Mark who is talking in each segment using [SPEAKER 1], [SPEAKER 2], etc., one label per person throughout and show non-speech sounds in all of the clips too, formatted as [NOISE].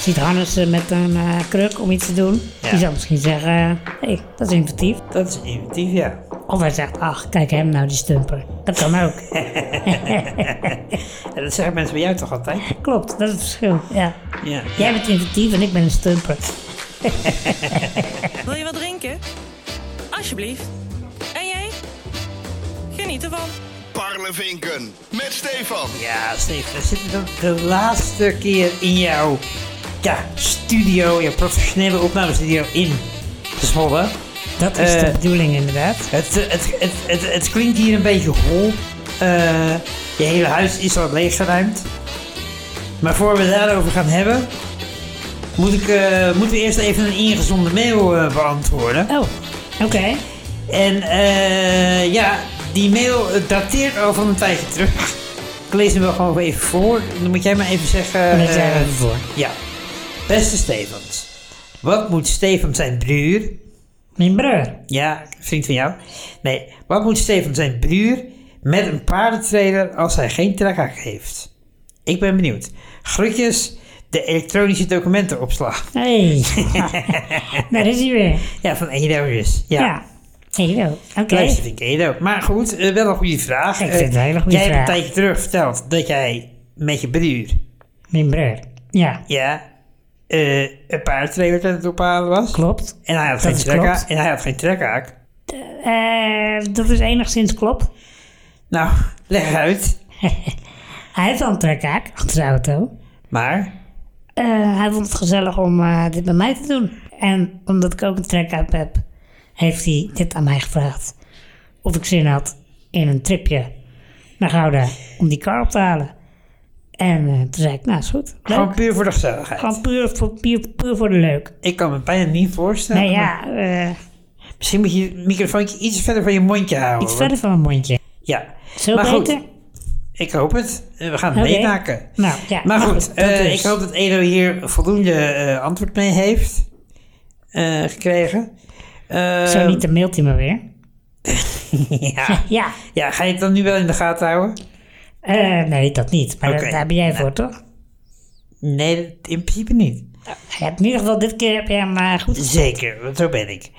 [SPEAKER 1] ziet Hannes eh, met een eh, kruk om iets te doen.
[SPEAKER 2] Ja.
[SPEAKER 1] Die zou misschien zeggen, hé, hey, dat is inventief.
[SPEAKER 2] Dat is inventief, ja.
[SPEAKER 1] Of hij zegt, ach, kijk hem nou, die stumper. Dat kan
[SPEAKER 2] [LAUGHS]
[SPEAKER 1] ook.
[SPEAKER 2] En dat zeggen mensen bij jou toch altijd?
[SPEAKER 1] Klopt, dat is het verschil. Ja.
[SPEAKER 2] Ja.
[SPEAKER 1] Jij bent inventief en ik ben een stumper.
[SPEAKER 3] Wil je wat drinken? Alsjeblieft. En jij? Geniet ervan.
[SPEAKER 4] Parlevinken met Stefan.
[SPEAKER 2] Ja, Steven, we zitten dan de laatste keer in jouw ja, studio, jouw professionele opnamestudio in Zwolle.
[SPEAKER 1] Dat is de
[SPEAKER 2] Eh.
[SPEAKER 1] bedoeling inderdaad.
[SPEAKER 2] Het, eh, het, het, het, het klinkt hier een beetje hol. Eh, je hele huis is al leeggeruimd. Maar voor we daarover gaan hebben, moet ik, eh, moeten we eerst even een ingezonde mail eh, beantwoorden.
[SPEAKER 1] Oh, oké.
[SPEAKER 2] En eh, ja, die mail dateert al van een tijdje terug. Ik lees hem wel gewoon even voor. Dan moet jij maar even zeggen.
[SPEAKER 1] Dan lees jij
[SPEAKER 2] eh,
[SPEAKER 1] even voor.
[SPEAKER 2] Ja. Beste Stevens. Wat moet Stefan zijn broer?
[SPEAKER 1] Mijn broer.
[SPEAKER 2] Ja, vriend van jou. Nee, wat moet Stefan zijn broer met een paardentrailer als hij geen trekhaak heeft? Ik ben benieuwd. Groetjes, de elektronische documentenopslag. [LAUGHS]
[SPEAKER 1] Hé, daar is hij weer.
[SPEAKER 2] Ja, van Edo dus.
[SPEAKER 1] Ja. Hey, wel. Oké.
[SPEAKER 2] Luister, vind ik Edo. Maar goed, eh, wel een goede vraag.
[SPEAKER 1] Ik vind het een hele
[SPEAKER 2] Eh,
[SPEAKER 1] goede
[SPEAKER 2] Jij hebt
[SPEAKER 1] vraag.
[SPEAKER 2] een tijdje terug verteld dat jij met je broer,
[SPEAKER 1] Mijn broer. Ja,
[SPEAKER 2] ja, eh, een paardentrailer aan het ophalen was.
[SPEAKER 1] klopt.
[SPEAKER 2] En hij, had
[SPEAKER 1] Dat
[SPEAKER 2] geen
[SPEAKER 1] is
[SPEAKER 2] trekhaak,
[SPEAKER 1] klopt.
[SPEAKER 2] en hij had geen trekhaak.
[SPEAKER 1] Eh, dat is enigszins klopt.
[SPEAKER 2] Nou, [LAUGHS] leg uit.
[SPEAKER 1] Hij heeft al een trekhaak achter zijn auto.
[SPEAKER 2] Maar,
[SPEAKER 1] Eh, hij vond het gezellig om eh, dit bij mij te doen. En omdat ik ook een trekhaak heb, heeft hij dit aan mij gevraagd. Of ik zin had in een tripje naar Gouda om die car op te halen. En eh, toen zei ik, nou is goed. Leuk.
[SPEAKER 2] gewoon puur voor de gezelligheid.
[SPEAKER 1] Gewoon puur voor, puur, puur voor de leuk.
[SPEAKER 2] Ik kan me bijna niet voorstellen.
[SPEAKER 1] Nee,
[SPEAKER 2] maar
[SPEAKER 1] ja, eh,
[SPEAKER 2] Misschien moet je het microfoontje iets verder van je mondje houden.
[SPEAKER 1] iets verder van mijn mondje.
[SPEAKER 2] hoor. Ja.
[SPEAKER 1] Zo
[SPEAKER 2] maar
[SPEAKER 1] beter?
[SPEAKER 2] goed, ik hoop het. Eh, We gaan het
[SPEAKER 1] Oké.
[SPEAKER 2] meemaken.
[SPEAKER 1] Nou, ja.
[SPEAKER 2] maar goed,
[SPEAKER 1] dat
[SPEAKER 2] eh,
[SPEAKER 1] is-
[SPEAKER 2] ik hoop dat Edo hier voldoende eh, antwoord mee heeft eh, gekregen. Eh,
[SPEAKER 1] Zo niet, dan mailt hij me weer.
[SPEAKER 2] [LAUGHS] ja.
[SPEAKER 1] Ja,
[SPEAKER 2] ja, ga je het dan nu wel in de gaten houden?
[SPEAKER 1] eh, nee, dat niet. Maar
[SPEAKER 2] Oké.
[SPEAKER 1] daar, daar ben jij voor, toch?
[SPEAKER 2] Nee, dat- in principe niet.
[SPEAKER 1] Ja, in ieder geval, dit keer heb je hem eh, goed.
[SPEAKER 2] Zeker, want zo ben ik.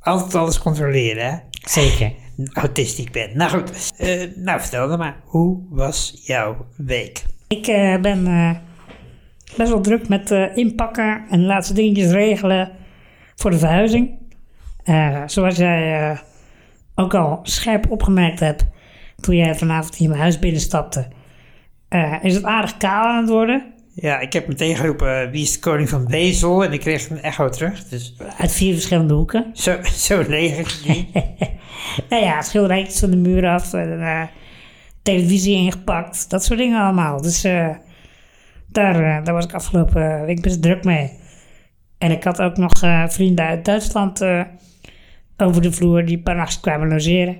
[SPEAKER 2] Altijd alles controleren, hè? [LAUGHS]
[SPEAKER 1] Zeker.
[SPEAKER 2] Autistisch ben. Nou goed, eh, nou vertel dan maar. Hoe was jouw week?
[SPEAKER 1] Ik eh, ben eh, best wel druk met eh, inpakken en laatste dingetjes regelen voor de verhuizing. Eh, zoals jij eh, ook al scherp opgemerkt hebt toen jij vanavond hier mijn huis binnenstapte, eh, is het aardig kaal aan het worden.
[SPEAKER 2] Ja, ik heb meteen geroepen eh, wie is de koning van Bezel en ik kreeg een echo terug. Dus
[SPEAKER 1] Uit vier verschillende hoeken.
[SPEAKER 2] zo, [LAUGHS] zo leeg is het niet.
[SPEAKER 1] Nou ja, schilderijtjes van de muur af, en, eh, televisie ingepakt, dat soort dingen allemaal. Dus eh, daar, eh, daar was ik afgelopen week best druk mee. En ik had ook nog eh, vrienden uit Duitsland eh, over de vloer die een paar nachts kwamen logeren.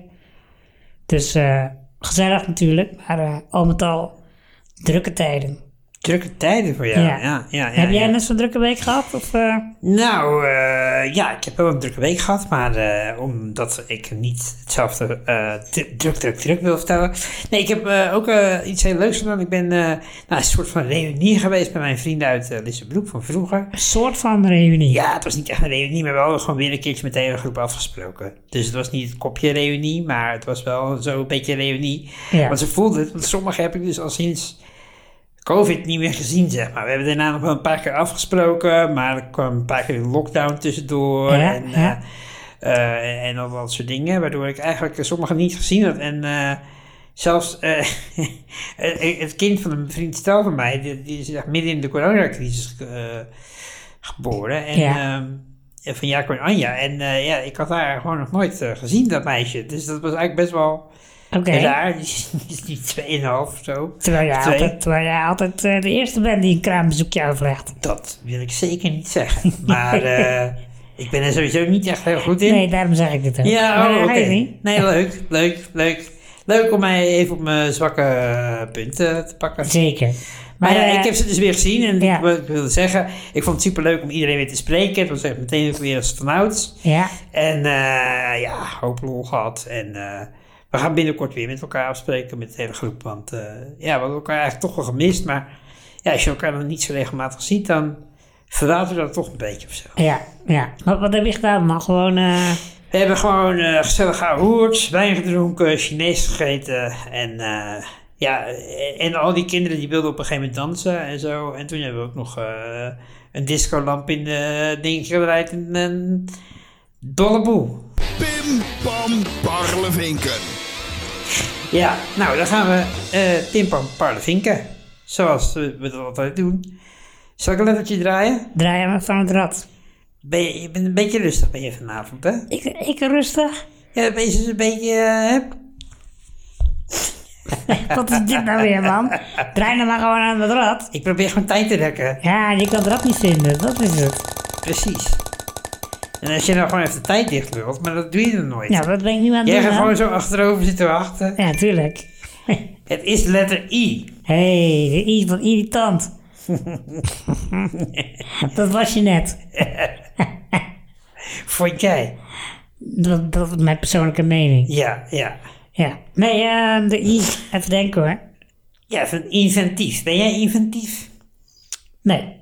[SPEAKER 1] Dus eh, gezellig natuurlijk, maar eh, al met al drukke tijden.
[SPEAKER 2] Drukke tijden voor jou. Ja, ja, ja.
[SPEAKER 1] Heb jij
[SPEAKER 2] ja.
[SPEAKER 1] net zo'n drukke week gehad? Of, eh,
[SPEAKER 2] Nou, eh, ja, ik heb wel een drukke week gehad, maar eh, omdat ik niet hetzelfde eh, dru- druk, druk, druk wil vertellen. Nee, ik heb eh, ook eh, iets heel leuks gedaan. Ik ben eh naar een soort van reunie geweest met mijn vrienden uit eh Lissabroek van vroeger.
[SPEAKER 1] een soort van reunie?
[SPEAKER 2] Ja, het was niet echt een reunie, maar we hadden gewoon weer een keertje met de hele groep afgesproken. Dus het was niet het kopje reunie, maar het was wel zo'n beetje reunie.
[SPEAKER 1] Ja.
[SPEAKER 2] Want ze voelden het, want sommige heb ik dus al sinds COVID niet meer gezien, zeg maar. We hebben daarna nog wel een paar keer afgesproken, maar er kwam een paar keer een lockdown tussendoor.
[SPEAKER 1] Ja,
[SPEAKER 2] en,
[SPEAKER 1] ja.
[SPEAKER 2] eh, eh, en al dat soort dingen, waardoor ik eigenlijk sommige niet gezien had. En eh, zelfs eh, [LAUGHS] het kind van een vriend stel van mij, die, die is echt midden in de coronacrisis eh, geboren. En,
[SPEAKER 1] Ja.
[SPEAKER 2] ehm, en van Jacob en Anja. En eh, ja, ik had haar gewoon nog nooit eh, gezien, dat meisje. Dus dat was eigenlijk best wel
[SPEAKER 1] Oké.
[SPEAKER 2] raar. Die is- [LAUGHS] die is niet 2,5 of zo.
[SPEAKER 1] Terwijl jij
[SPEAKER 2] Twee.
[SPEAKER 1] altijd, terwijl jij altijd eh, de eerste bent die een kraambezoekje aflegt.
[SPEAKER 2] Dat wil ik zeker niet zeggen. Maar
[SPEAKER 1] [LAUGHS]
[SPEAKER 2] eh, ik ben er sowieso niet echt heel goed in.
[SPEAKER 1] Nee, daarom zeg ik dit ook.
[SPEAKER 2] ja,
[SPEAKER 1] Maar
[SPEAKER 2] oh,
[SPEAKER 1] dat
[SPEAKER 2] oké.
[SPEAKER 1] geeft niet.
[SPEAKER 2] Nee, leuk, leuk, leuk. Leuk om mij even op mijn zwakke eh, punten te pakken.
[SPEAKER 1] Zeker.
[SPEAKER 2] Maar ja,
[SPEAKER 1] eh,
[SPEAKER 2] ik heb ze dus weer gezien en
[SPEAKER 1] ja.
[SPEAKER 2] ik, wil- ik wilde zeggen, ik vond het superleuk om iedereen weer te spreken. Het was echt meteen ook weer als vanouds.
[SPEAKER 1] Ja,
[SPEAKER 2] En eh, ja, hoop lol gehad. En eh, we gaan binnenkort weer met elkaar afspreken met de hele groep. Want eh, ja, we hadden elkaar eigenlijk toch wel gemist. Maar ja, als je elkaar dan niet zo regelmatig ziet, dan verwatert dat toch een beetje of zo.
[SPEAKER 1] Ja, ja. Wat, wat heb je gedaan, man? Gewoon, eh,
[SPEAKER 2] We hebben gewoon eh, gezellig gehoord, wijn gedronken, Chinees gegeten en eh, ja, en al die kinderen die wilden op een gegeven moment dansen en zo. En toen hebben we ook nog eh, een discolamp in de ding gedraaid en een dolle boel.
[SPEAKER 4] Pim Pam Parlevinken.
[SPEAKER 2] Ja, nou dan gaan we eh Timpam Parlevinken, zoals we dat altijd doen. Zal ik een lettertje draaien?
[SPEAKER 1] draai me van het rad.
[SPEAKER 2] Ben je, je bent een beetje rustig ben je vanavond, hè?
[SPEAKER 1] Ik, ik rustig? [LAUGHS]
[SPEAKER 2] Ja, ben je dus een beetje... eh,
[SPEAKER 1] Wat is dit nou weer, man? Draai nou maar gewoon aan het rad.
[SPEAKER 2] ik probeer gewoon tijd te rekken.
[SPEAKER 1] Ja, je kan het rad niet vinden, dat is het.
[SPEAKER 2] Precies. En als je nou gewoon even de tijd dicht wilt, maar dat doe je dan nooit.
[SPEAKER 1] Ja, wat ben ik nu aan het
[SPEAKER 2] Jij
[SPEAKER 1] doen,
[SPEAKER 2] gaat
[SPEAKER 1] hè?
[SPEAKER 2] gewoon zo achterover zitten wachten.
[SPEAKER 1] Ja, tuurlijk.
[SPEAKER 2] Het is letter I.
[SPEAKER 1] Hé, hey, iets wat
[SPEAKER 2] [LAUGHS]
[SPEAKER 1] irritant. dat was je net.
[SPEAKER 2] Vond jij?
[SPEAKER 1] Dat, dat is mijn persoonlijke mening.
[SPEAKER 2] Ja, ja.
[SPEAKER 1] Ja. Nee, ehm, de I. Even denken hoor.
[SPEAKER 2] Ja, van inventief. Ben jij inventief?
[SPEAKER 1] Nee.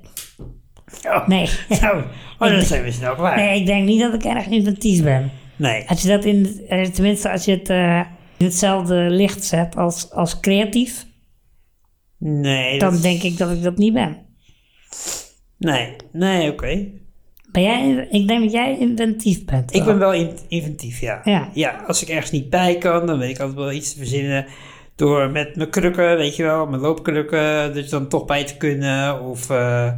[SPEAKER 2] Oh.
[SPEAKER 1] Nee.
[SPEAKER 2] Nou, oh, dan zijn we snel klaar.
[SPEAKER 1] Nee, ik denk niet dat ik erg inventief ben.
[SPEAKER 2] Nee.
[SPEAKER 1] Als je dat in, eh, tenminste als je het eh, in hetzelfde licht zet als, als creatief,
[SPEAKER 2] Nee. dat-
[SPEAKER 1] dan denk ik dat ik dat niet ben.
[SPEAKER 2] Nee, nee, oké.
[SPEAKER 1] Ben jij, ik denk dat jij inventief bent.
[SPEAKER 2] Ik ben wel in- inventief, ja.
[SPEAKER 1] Ja.
[SPEAKER 2] als ik ergens niet bij kan, dan weet ik altijd wel iets te verzinnen. Door met mijn krukken, weet je wel, mijn loopkrukken, dus dan toch bij te kunnen. Of, eh,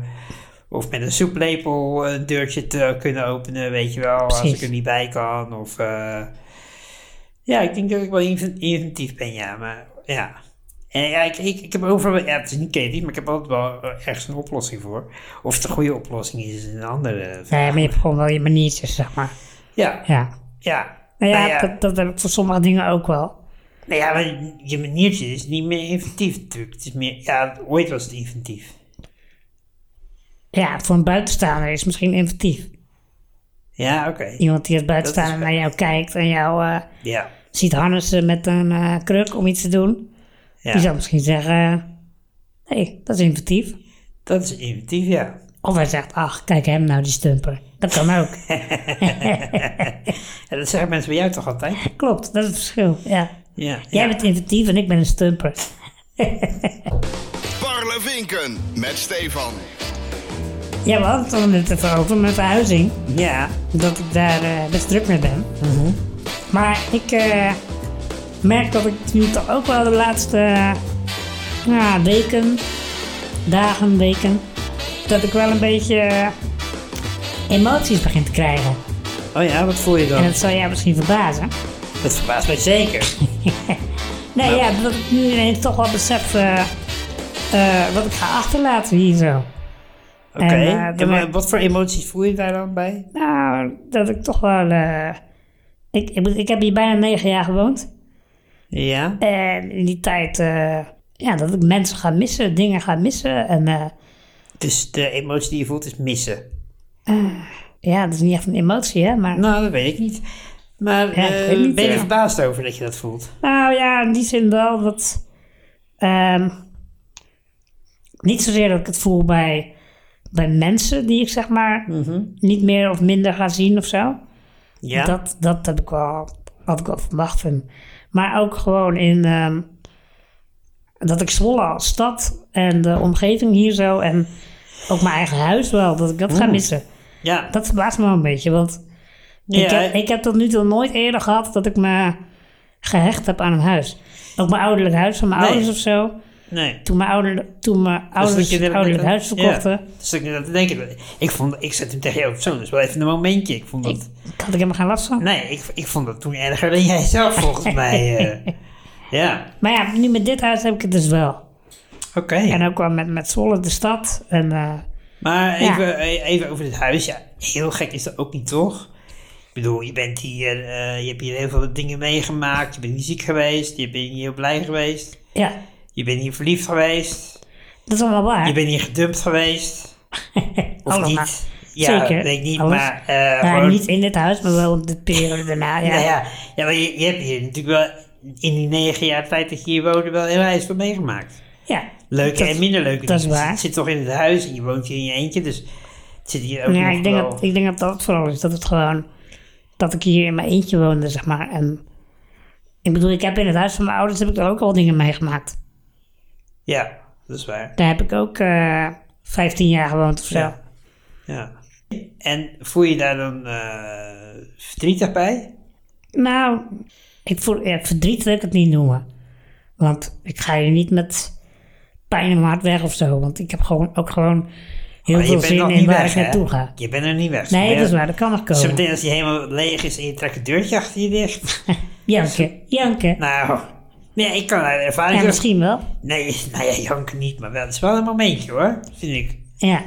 [SPEAKER 2] of met een soeplepel een deurtje te kunnen openen, weet je wel, als
[SPEAKER 1] Precies.
[SPEAKER 2] ik er niet bij kan. Of, eh, ja, ik denk dat ik wel inven- inventief ben, ja. Maar, ja. En ja, ik, ik, ik heb overal, ja, het is niet creatief, maar ik heb altijd wel eh, ergens een oplossing voor. Of het een goede oplossing is, is een andere.
[SPEAKER 1] Nee, maar je hebt gewoon wel je maniertjes, zeg maar.
[SPEAKER 2] Ja,
[SPEAKER 1] Ja.
[SPEAKER 2] ja.
[SPEAKER 1] Nou ja,
[SPEAKER 2] Nou ja.
[SPEAKER 1] Dat, dat heb ik voor sommige dingen ook wel.
[SPEAKER 2] Nou ja, maar je maniertje is niet meer inventief natuurlijk. Het is meer, ja, ooit was het inventief.
[SPEAKER 1] Ja, voor een buitenstaander is misschien inventief.
[SPEAKER 2] Ja, oké.
[SPEAKER 1] Iemand die als
[SPEAKER 2] Dat
[SPEAKER 1] buitenstaander
[SPEAKER 2] is
[SPEAKER 1] naar jou kijkt en jou eh,
[SPEAKER 2] Ja.
[SPEAKER 1] ziet harnessen met een eh, kruk om iets te doen,
[SPEAKER 2] ja.
[SPEAKER 1] die zou misschien zeggen: hé, hey, dat is inventief.
[SPEAKER 2] Dat is inventief, ja.
[SPEAKER 1] Of hij zegt: ach, kijk hem nou, die stumper. Dat kan ook.
[SPEAKER 2] En dat zeggen mensen bij jou toch altijd?
[SPEAKER 1] Klopt, dat is het verschil. Ja.
[SPEAKER 2] Ja.
[SPEAKER 1] Jij
[SPEAKER 2] ja.
[SPEAKER 1] bent inventief en ik ben een stumper.
[SPEAKER 4] Parlevinken met Stefan.
[SPEAKER 1] Ja, we hadden het al net even over mijn verhuizing.
[SPEAKER 2] Ja.
[SPEAKER 1] dat ik daar eh, best druk mee ben. Maar ik eh, merk dat ik nu toch ook wel de laatste eh, ja, weken, dagen, weken, dat ik wel een beetje eh, emoties begin te krijgen.
[SPEAKER 2] Oh ja, wat voel je
[SPEAKER 1] En
[SPEAKER 2] dan?
[SPEAKER 1] dat zal jou misschien verbazen.
[SPEAKER 2] Dat verbaast mij zeker.
[SPEAKER 1] [LAUGHS] Nee, ja, dat ik nu ineens toch wel besef eh, eh, wat ik ga achterlaten hier zo.
[SPEAKER 2] Oké.
[SPEAKER 1] En, eh,
[SPEAKER 2] Ja,
[SPEAKER 1] dan-
[SPEAKER 2] maar wat voor emoties voel je daar dan bij?
[SPEAKER 1] Nou, dat ik toch wel... eh, ik, ik, ik heb hier bijna negen jaar gewoond.
[SPEAKER 2] Ja.
[SPEAKER 1] En in die tijd, eh, ja, dat ik mensen ga missen, dingen ga missen. En eh,
[SPEAKER 2] Dus de emotie die je voelt is missen.
[SPEAKER 1] ja, dat is niet echt een emotie, hè. Maar
[SPEAKER 2] Nou, dat weet ik niet. Maar
[SPEAKER 1] Ja, ik
[SPEAKER 2] eh,
[SPEAKER 1] weet niet,
[SPEAKER 2] ben je er
[SPEAKER 1] ja.
[SPEAKER 2] verbaasd over dat je dat voelt?
[SPEAKER 1] nou ja, in die zin wel dat... ehm, niet zozeer dat ik het voel bij, bij mensen die ik zeg maar niet meer of minder ga zien of zo.
[SPEAKER 2] Ja.
[SPEAKER 1] Dat, dat heb ik wel, had ik wel verwacht van. hem. Maar ook gewoon in ehm, dat ik Zwolle als stad en de omgeving hier zo en ook mijn eigen huis wel, dat ik dat ga missen.
[SPEAKER 2] ja.
[SPEAKER 1] Dat verbaast me wel een beetje, want ik,
[SPEAKER 2] Ja.
[SPEAKER 1] heb, ik heb tot nu toe nooit eerder gehad dat ik me gehecht heb aan een huis. Ook mijn ouderlijk huis van mijn
[SPEAKER 2] Nee.
[SPEAKER 1] ouders of zo.
[SPEAKER 2] nee.
[SPEAKER 1] Toen mijn, ouder, toen mijn
[SPEAKER 2] Dus
[SPEAKER 1] ouders
[SPEAKER 2] dat je
[SPEAKER 1] het
[SPEAKER 2] er-
[SPEAKER 1] ouderlijk
[SPEAKER 2] dat-
[SPEAKER 1] huis verkochten,
[SPEAKER 2] Ja, dus ik dat denk ik. Ik vond, ik zet hem tegen jou op zo'n, dus wel even een momentje. Ik vond dat,
[SPEAKER 1] had ik helemaal geen last van.
[SPEAKER 2] nee, ik, ik vond dat toen erger dan jij zelf
[SPEAKER 1] [LAUGHS]
[SPEAKER 2] volgens mij. eh. ja,
[SPEAKER 1] Maar ja, nu met dit huis heb ik het dus wel.
[SPEAKER 2] oké.
[SPEAKER 1] En ook wel met, met Zwolle, de stad. En eh,
[SPEAKER 2] Maar
[SPEAKER 1] Ja.
[SPEAKER 2] even, eh, even over dit huis. Ja, heel gek is dat ook niet, toch? Ik bedoel, je bent hier, eh, je hebt hier heel veel dingen meegemaakt. Je bent hier ziek geweest, je bent hier heel blij geweest.
[SPEAKER 1] ja,
[SPEAKER 2] Je bent hier verliefd geweest.
[SPEAKER 1] dat is allemaal waar.
[SPEAKER 2] Je bent hier gedumpt geweest.
[SPEAKER 1] [LAUGHS]
[SPEAKER 2] Of
[SPEAKER 1] Allemaal.
[SPEAKER 2] niet? Ja,
[SPEAKER 1] Zeker,
[SPEAKER 2] weet ik niet,
[SPEAKER 1] alles.
[SPEAKER 2] maar... eh,
[SPEAKER 1] Nou,
[SPEAKER 2] gewoon-
[SPEAKER 1] niet in dit huis, maar wel op de periode daarna. Ja.
[SPEAKER 2] Ja, Nou ja. ja maar je, je hebt hier natuurlijk wel in die negen jaar tijd dat je hier woonde wel heel ijs van meegemaakt.
[SPEAKER 1] Ja.
[SPEAKER 2] Leuke
[SPEAKER 1] Dat-
[SPEAKER 2] en minder leuke
[SPEAKER 1] dat is
[SPEAKER 2] dingen.
[SPEAKER 1] waar.
[SPEAKER 2] Het zit toch in het huis en je woont hier in je eentje, dus het zit hier ook
[SPEAKER 1] ja,
[SPEAKER 2] nog
[SPEAKER 1] ik denk,
[SPEAKER 2] wel-
[SPEAKER 1] dat, ik denk dat dat het vooral is. Dat het gewoon... Dat ik hier in mijn eentje woonde, zeg maar. En ik bedoel, ik heb in het huis van mijn ouders heb ik er ook al dingen meegemaakt.
[SPEAKER 2] Ja, dat is waar.
[SPEAKER 1] Daar heb ik ook eh 15 jaar gewoond of zo.
[SPEAKER 2] Ja. ja. En voel je daar dan eh verdrietig bij?
[SPEAKER 1] Nou, ik voel, ja, verdriet wil ik het niet noemen. Want ik ga hier niet met pijn in mijn hart weg of zo. Want ik heb gewoon, ook gewoon heel
[SPEAKER 2] Maar je
[SPEAKER 1] veel
[SPEAKER 2] bent
[SPEAKER 1] zin
[SPEAKER 2] nog
[SPEAKER 1] in
[SPEAKER 2] niet
[SPEAKER 1] waar
[SPEAKER 2] weg,
[SPEAKER 1] ik
[SPEAKER 2] hè?
[SPEAKER 1] naartoe ga.
[SPEAKER 2] Je bent er niet weg.
[SPEAKER 1] Nee,
[SPEAKER 2] Zometeen-
[SPEAKER 1] dat is waar. Dat kan nog komen.
[SPEAKER 2] Zometeen als je helemaal leeg is en je trekt het deurtje achter je dicht. [LAUGHS]
[SPEAKER 1] Janken, janken.
[SPEAKER 2] nou, nee, ik kan uit ervaring
[SPEAKER 1] ja,
[SPEAKER 2] zeggen-
[SPEAKER 1] misschien wel.
[SPEAKER 2] Nee, [LAUGHS] nou ja, janken niet, maar wel. Het is wel een momentje hoor, vind ik.
[SPEAKER 1] Ja.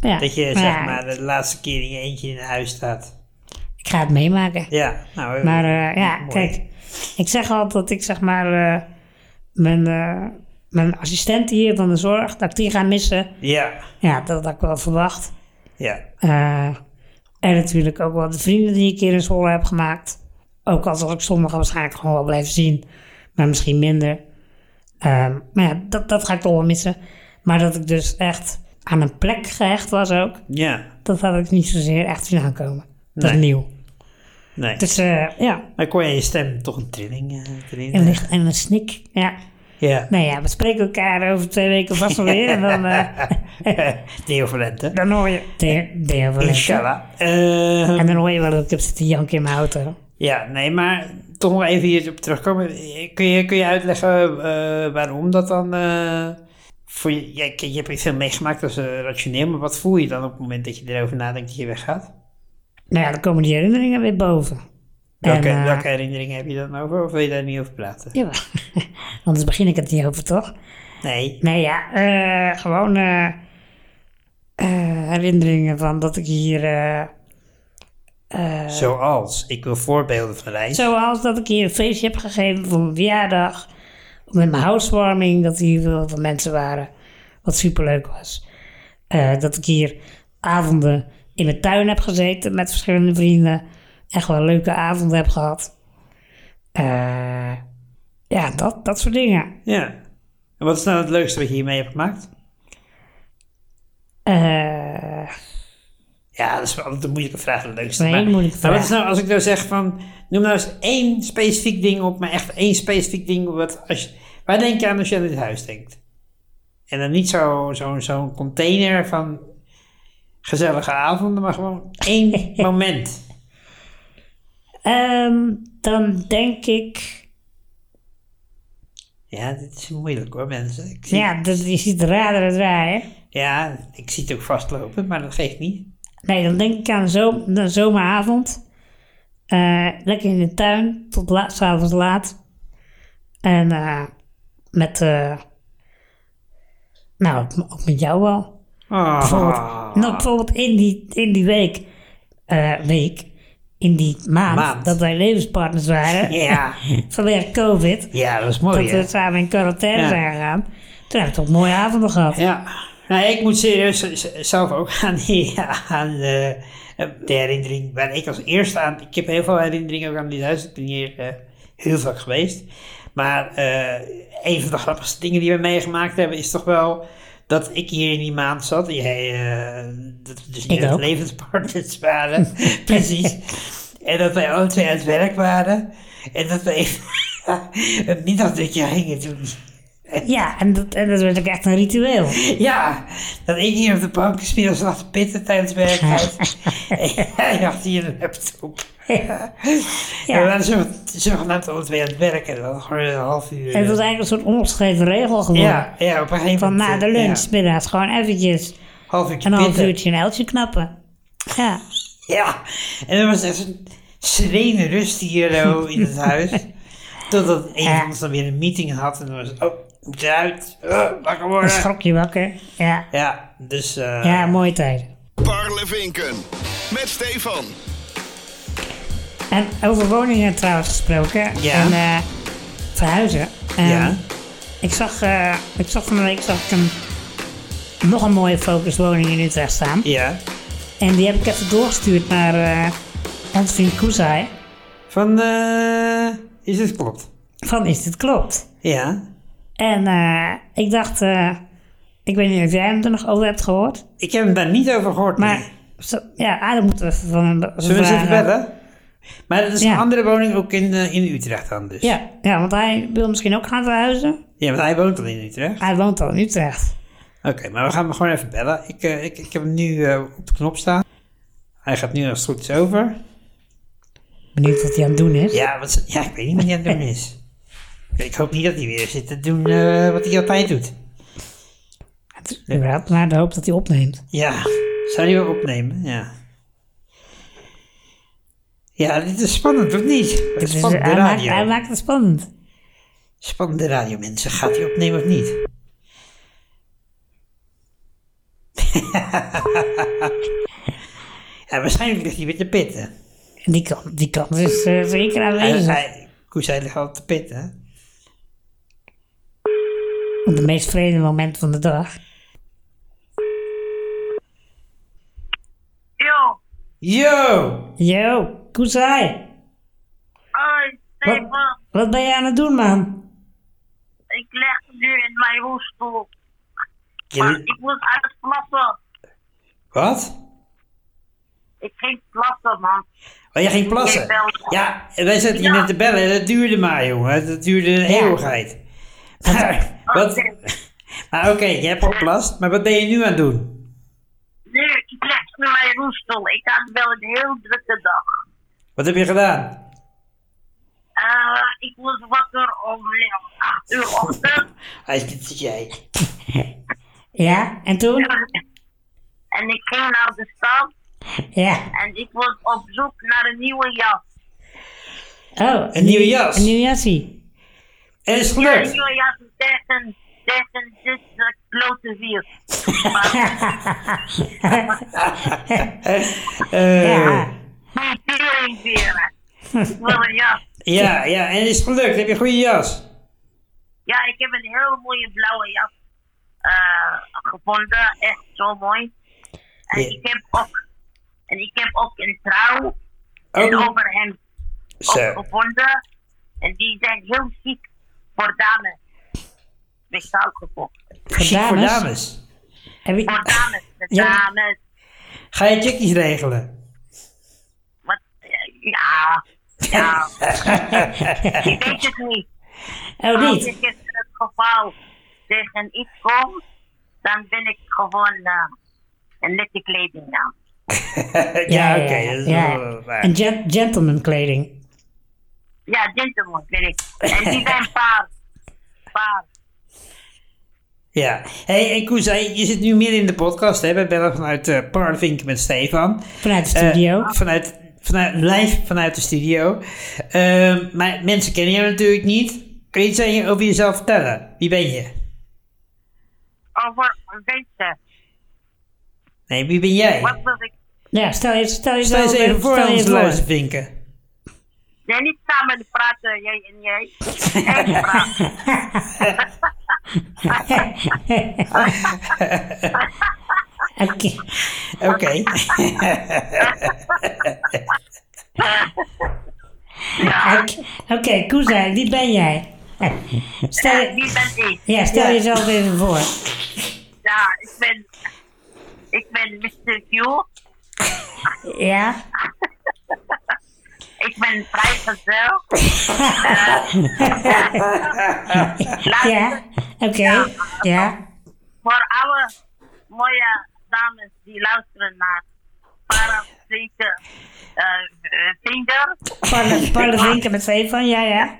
[SPEAKER 1] ja.
[SPEAKER 2] Dat je zeg
[SPEAKER 1] ja,
[SPEAKER 2] maar de laatste keer in je eentje in huis staat.
[SPEAKER 1] Ik ga het meemaken.
[SPEAKER 2] Ja, nou. eh,
[SPEAKER 1] Maar eh, ja,
[SPEAKER 2] mooi.
[SPEAKER 1] kijk, ik zeg altijd dat ik zeg maar eh, mijn, eh, mijn assistent hier van de zorg, dat ik die ga missen.
[SPEAKER 2] Ja,
[SPEAKER 1] Ja, dat had ik wel verwacht.
[SPEAKER 2] ja,
[SPEAKER 1] Eh, en natuurlijk ook wel de vrienden die ik hier in Zwolle heb gemaakt. Ook al zal ik sommigen waarschijnlijk gewoon wel blijven zien, maar misschien minder. Ehm, maar ja, dat, dat ga ik toch wel missen. Maar dat ik dus echt aan een plek gehecht was ook,
[SPEAKER 2] ja.
[SPEAKER 1] dat had ik niet zozeer echt zien aankomen. Dat
[SPEAKER 2] Nee.
[SPEAKER 1] is nieuw.
[SPEAKER 2] Nee.
[SPEAKER 1] Dus eh, ja,
[SPEAKER 2] Maar kon je je stem toch een trilling eh, erin?
[SPEAKER 1] en, licht, en een snik. Ja.
[SPEAKER 2] Ja.
[SPEAKER 1] Nou ja, we spreken elkaar over twee weken vast wel weer. en dan, eh
[SPEAKER 2] Theo Valente.
[SPEAKER 1] [LAUGHS] dan hoor je... Deel, deel wel lekker.
[SPEAKER 2] Inshallah. Ehm,
[SPEAKER 1] En dan hoor je wel dat ik heb zitten janken in mijn auto.
[SPEAKER 2] ja, nee, maar toch nog even hierop terugkomen. Eh, Kun je, kun je uitleggen eh, waarom dat dan... eh, voor je, ja, je je hebt hier veel meegemaakt als eh, rationeel, maar wat voel je dan op het moment dat je erover nadenkt dat je weggaat?
[SPEAKER 1] Nou ja, dan komen die herinneringen weer boven.
[SPEAKER 2] Welke,
[SPEAKER 1] En, eh,
[SPEAKER 2] welke herinneringen heb je dan over? Of wil je daar niet over praten?
[SPEAKER 1] jawel. [LAUGHS] Anders begin ik het niet over, toch?
[SPEAKER 2] Nee.
[SPEAKER 1] Nee, ja, eh, gewoon eh, eh, herinneringen van dat ik hier... eh,
[SPEAKER 2] Eh, Zoals, ik wil voorbeelden van reis.
[SPEAKER 1] zoals dat ik hier een feestje heb gegeven voor mijn verjaardag. Met mijn housewarming, dat hier heel veel mensen waren. Wat superleuk was. Eh, dat ik hier avonden in mijn tuin heb gezeten met verschillende vrienden. Echt wel leuke avonden heb gehad. Eh, ja, dat, dat soort dingen.
[SPEAKER 2] Ja. En wat is nou het leukste wat je hiermee hebt gemaakt?
[SPEAKER 1] Eh,
[SPEAKER 2] Ja, dat is wel altijd een moeilijke vraag, de leukste.
[SPEAKER 1] Dat is een
[SPEAKER 2] maar,
[SPEAKER 1] hele moeilijke
[SPEAKER 2] maar wat is
[SPEAKER 1] vraag.
[SPEAKER 2] nou, als ik nou zeg van, noem nou eens één specifiek ding op, maar echt één specifiek ding, wat als je, waar denk je aan als je aan dit huis denkt? En dan niet zo'n zo, zo'n container van gezellige avonden, maar gewoon
[SPEAKER 1] [LAUGHS]
[SPEAKER 2] één moment.
[SPEAKER 1] ehm, dan denk ik...
[SPEAKER 2] Ja, dit is moeilijk hoor, mensen. Ik zie, ja.
[SPEAKER 1] Ja, dat, je ziet de raderen draaien.
[SPEAKER 2] ik zie het ook vastlopen, maar dat geeft niet.
[SPEAKER 1] Nee, dan denk ik aan zo, een zomeravond. Eh, lekker in de tuin, tot la- s s'avonds laat. En eh, met, eh, nou, ook- ook met jou wel. Bijvoorbeeld,
[SPEAKER 2] Oh,
[SPEAKER 1] nou, bijvoorbeeld in die, in die week, eh, week, in die maand,
[SPEAKER 2] Maand.
[SPEAKER 1] dat wij levenspartners waren,
[SPEAKER 2] [LAUGHS] ja. Oh,
[SPEAKER 1] vanwege COVID,
[SPEAKER 2] ja, dat is
[SPEAKER 1] dat
[SPEAKER 2] mooi. hè?
[SPEAKER 1] we samen in quarantaine
[SPEAKER 2] Ja.
[SPEAKER 1] zijn gegaan. Toen hebben we toch mooie avonden gehad.
[SPEAKER 2] Ja, nou, ik moet serieus z- z- zelf ook [LAUGHS] aan, die, aan de, de herinnering waar ik als eerste aan. Ik heb heel veel herinneringen ook aan dit huis. Ik ben hier eh, heel vaak geweest. Maar eh, een van de grappigste dingen die we meegemaakt hebben is toch wel dat ik hier in die maand zat. Jij, eh, dat we dus niet
[SPEAKER 1] Ik
[SPEAKER 2] echt
[SPEAKER 1] ook.
[SPEAKER 2] levenspartners waren.
[SPEAKER 1] [LAUGHS]
[SPEAKER 2] Precies. En dat wij alle twee aan het werk waren. En dat we even [LAUGHS] een middagdutje gingen doen.
[SPEAKER 1] Ja, en dat, en dat werd ook echt een ritueel.
[SPEAKER 2] [LAUGHS] Ja, dat ik hier op de bank smiddags lag te pitten tijdens
[SPEAKER 1] [LAUGHS]
[SPEAKER 2] werktijd. [LAUGHS] en jij had hier een laptop. En we
[SPEAKER 1] Ja.
[SPEAKER 2] waren zo- zogenaamd alle twee aan het werken. Dan gewoon een half uur. eh,
[SPEAKER 1] En het was eigenlijk een soort ongeschreven regel geworden.
[SPEAKER 2] ja, ja, op een gegeven moment.
[SPEAKER 1] Van na de
[SPEAKER 2] eh,
[SPEAKER 1] lunch,
[SPEAKER 2] ja,
[SPEAKER 1] middags, gewoon eventjes
[SPEAKER 2] half uurtje
[SPEAKER 1] een half
[SPEAKER 2] pitten.
[SPEAKER 1] uurtje een uiltje knappen. Ja,
[SPEAKER 2] Ja, en er was echt een serene rust hier
[SPEAKER 1] [LAUGHS]
[SPEAKER 2] zo in het huis. Totdat een
[SPEAKER 1] Ja.
[SPEAKER 2] van ons dan weer een meeting had. En dan was het, oh, ik moet eruit. Oh, wakker
[SPEAKER 1] dan
[SPEAKER 2] worden.
[SPEAKER 1] schrok je wakker. Ja,
[SPEAKER 2] Ja, dus... eh,
[SPEAKER 1] ja mooie tijden.
[SPEAKER 4] Parlevinken met Stefan.
[SPEAKER 1] En over woningen trouwens gesproken.
[SPEAKER 2] Ja.
[SPEAKER 1] En eh, verhuizen. En
[SPEAKER 2] Ja.
[SPEAKER 1] Ik zag, eh, ik zag van de week zag ik een, nog een mooie focuswoning in Utrecht staan.
[SPEAKER 2] Ja.
[SPEAKER 1] En die heb ik even doorgestuurd naar eh ons vriend Koezai.
[SPEAKER 2] Van, eh, is het klopt?
[SPEAKER 1] Van is dit klopt?
[SPEAKER 2] Ja.
[SPEAKER 1] En eh, ik dacht, eh, ik weet niet of jij hem er nog over hebt gehoord.
[SPEAKER 2] Ik heb hem daar niet over gehoord.
[SPEAKER 1] Maar
[SPEAKER 2] nee.
[SPEAKER 1] zo- ja, Adam moeten we even van hem
[SPEAKER 2] Zullen we eens even
[SPEAKER 1] vragen.
[SPEAKER 2] bellen? Maar dat is
[SPEAKER 1] Ja.
[SPEAKER 2] een andere woning ook in, eh, in Utrecht dan dus.
[SPEAKER 1] Ja, ja, want hij wil misschien ook gaan verhuizen.
[SPEAKER 2] Ja, want hij woont al in Utrecht.
[SPEAKER 1] Hij woont al in Utrecht.
[SPEAKER 2] Oké, maar we gaan hem gewoon even bellen. Ik, eh, ik, ik heb hem nu eh, op de knop staan. Hij gaat nu als het goed is over.
[SPEAKER 1] Benieuwd wat hij aan het doen is.
[SPEAKER 2] Ja, wat, ze- ja ik weet niet wat hij aan het
[SPEAKER 1] [LAUGHS]
[SPEAKER 2] doen is. Ik hoop niet dat hij weer zit te doen eh, wat hij altijd doet.
[SPEAKER 1] Het is überhaupt maar de hoop dat hij opneemt.
[SPEAKER 2] Ja, zou hij wel opnemen? Ja. Ja, dit is spannend, of niet?
[SPEAKER 1] Dit is-
[SPEAKER 2] Spannende
[SPEAKER 1] Dus, eh, hij, maakt,
[SPEAKER 2] radio.
[SPEAKER 1] hij maakt het spannend.
[SPEAKER 2] Spannende radio, mensen. Gaat hij opnemen of niet? [LAUGHS] ja, waarschijnlijk ligt hij weer te pitten.
[SPEAKER 1] En die kant, die kant is eh, zeker
[SPEAKER 2] Hij,
[SPEAKER 1] aanwezig.
[SPEAKER 2] hij, Koes, hij ligt al te pitten.
[SPEAKER 1] Op het meest vreemde moment van de dag.
[SPEAKER 5] Yo,
[SPEAKER 2] Yo!
[SPEAKER 1] Yo, Koesai,
[SPEAKER 5] hoi, Stefan.
[SPEAKER 1] wat ben je aan het doen, man?
[SPEAKER 5] Ik leg nu in mijn rolstoel. Maar
[SPEAKER 2] Je-
[SPEAKER 5] ik moest uitklappen.
[SPEAKER 2] wat?
[SPEAKER 5] Ik ging klappen, man.
[SPEAKER 2] Oh, jij ging plassen?
[SPEAKER 5] Ik belde.
[SPEAKER 2] Ja, wij zaten hier
[SPEAKER 5] Ja.
[SPEAKER 2] net te bellen. en Dat duurde maar, jongen. Dat duurde een eeuwigheid. Maar, wat, [LAUGHS] maar oké, je hebt geplast. Maar wat ben je nu aan het doen?
[SPEAKER 5] Nu, ik leg in mijn rolstoel. Ik had wel een heel drukke dag.
[SPEAKER 2] Wat heb je gedaan?
[SPEAKER 5] Eh, ik was wakker om 8 uur ochtend.
[SPEAKER 2] Hij is dit zit jij.
[SPEAKER 1] Ja, en toen?
[SPEAKER 5] en ik ging naar de stad.
[SPEAKER 1] Ja.
[SPEAKER 5] En ik was op zoek naar een nieuwe jas.
[SPEAKER 1] Oh,
[SPEAKER 2] Een nieuwe jas.
[SPEAKER 1] Een nieuwe jassie.
[SPEAKER 2] En is het
[SPEAKER 5] Ja, een
[SPEAKER 2] gelukt?
[SPEAKER 5] nieuwe jas tegen, tegen dit eh, klote virus.
[SPEAKER 2] Eh,
[SPEAKER 1] Ja.
[SPEAKER 5] Die teringvieren. Ik wil een jas.
[SPEAKER 2] ja, ja, en is het gelukt? Heb je een goede jas?
[SPEAKER 5] Ja, ik heb een heel mooie blauwe jas eh, gevonden. Echt zo mooi. En,
[SPEAKER 2] Ja.
[SPEAKER 5] ik heb ook, en ik heb ook een trouw en
[SPEAKER 2] Ook-
[SPEAKER 5] overhemd
[SPEAKER 2] Oh. Zo.
[SPEAKER 5] ook gevonden. En die zijn heel chic voor dames. Speciaal gekocht.
[SPEAKER 2] Chic voor
[SPEAKER 1] dames.
[SPEAKER 2] dames.
[SPEAKER 1] Heb je,
[SPEAKER 5] Voor dames. De
[SPEAKER 1] Ja.
[SPEAKER 5] dames.
[SPEAKER 2] Ga je chickies
[SPEAKER 1] [LAUGHS]
[SPEAKER 2] regelen?
[SPEAKER 5] Wat, eh, ja. Ja. ik weet het niet.
[SPEAKER 1] oh,
[SPEAKER 5] Als
[SPEAKER 1] niet.
[SPEAKER 5] ik in het geval tegen iets kom, dan ben ik gewoon eh, een nette kleding aan.
[SPEAKER 2] ja, oké. dat is
[SPEAKER 1] ja.
[SPEAKER 2] wel eh, waar.
[SPEAKER 1] En gen- gentleman kleding.
[SPEAKER 5] Ja, gentleman, weet ik. En die zijn paars. Paars.
[SPEAKER 2] Ja. hey, en Koes, hey, je zit nu meer in de podcast. Hè? We bellen vanuit eh Parvink met Stefan.
[SPEAKER 1] Vanuit de studio.
[SPEAKER 2] Eh, vanuit, vanuit, live vanuit de studio. Ehm, maar mensen kennen jou natuurlijk niet. Kun je iets aan je- over jezelf vertellen? Wie ben je?
[SPEAKER 5] Over mensen.
[SPEAKER 2] Nee, wie ben jij?
[SPEAKER 5] Wat wil ik?
[SPEAKER 1] ja, stel je stel je
[SPEAKER 2] Sta eens even voor
[SPEAKER 1] stel je
[SPEAKER 2] ons
[SPEAKER 1] voor.
[SPEAKER 2] luistervinken.
[SPEAKER 5] Nee, niet samen praten, jij en jij. Echt praten.
[SPEAKER 1] Oké.
[SPEAKER 2] Oké.
[SPEAKER 1] [LAUGHS] Oké, Oké, Koesai, wie ben jij? Stel,
[SPEAKER 5] Eh,
[SPEAKER 1] je-
[SPEAKER 5] Wie ben ik?
[SPEAKER 1] ja, stel jezelf even voor.
[SPEAKER 5] Ja, ik ben... Ik ben Mr. Q.
[SPEAKER 1] Ja?
[SPEAKER 5] Ik ben vrijgezel. Eh, Laat
[SPEAKER 1] Ja? Oké. Ja?
[SPEAKER 5] voor alle mooie dames die luisteren naar Parasieten eh Vinger.
[SPEAKER 2] [LAUGHS]
[SPEAKER 1] Parle, parle drinken met Stefan, ja, ja.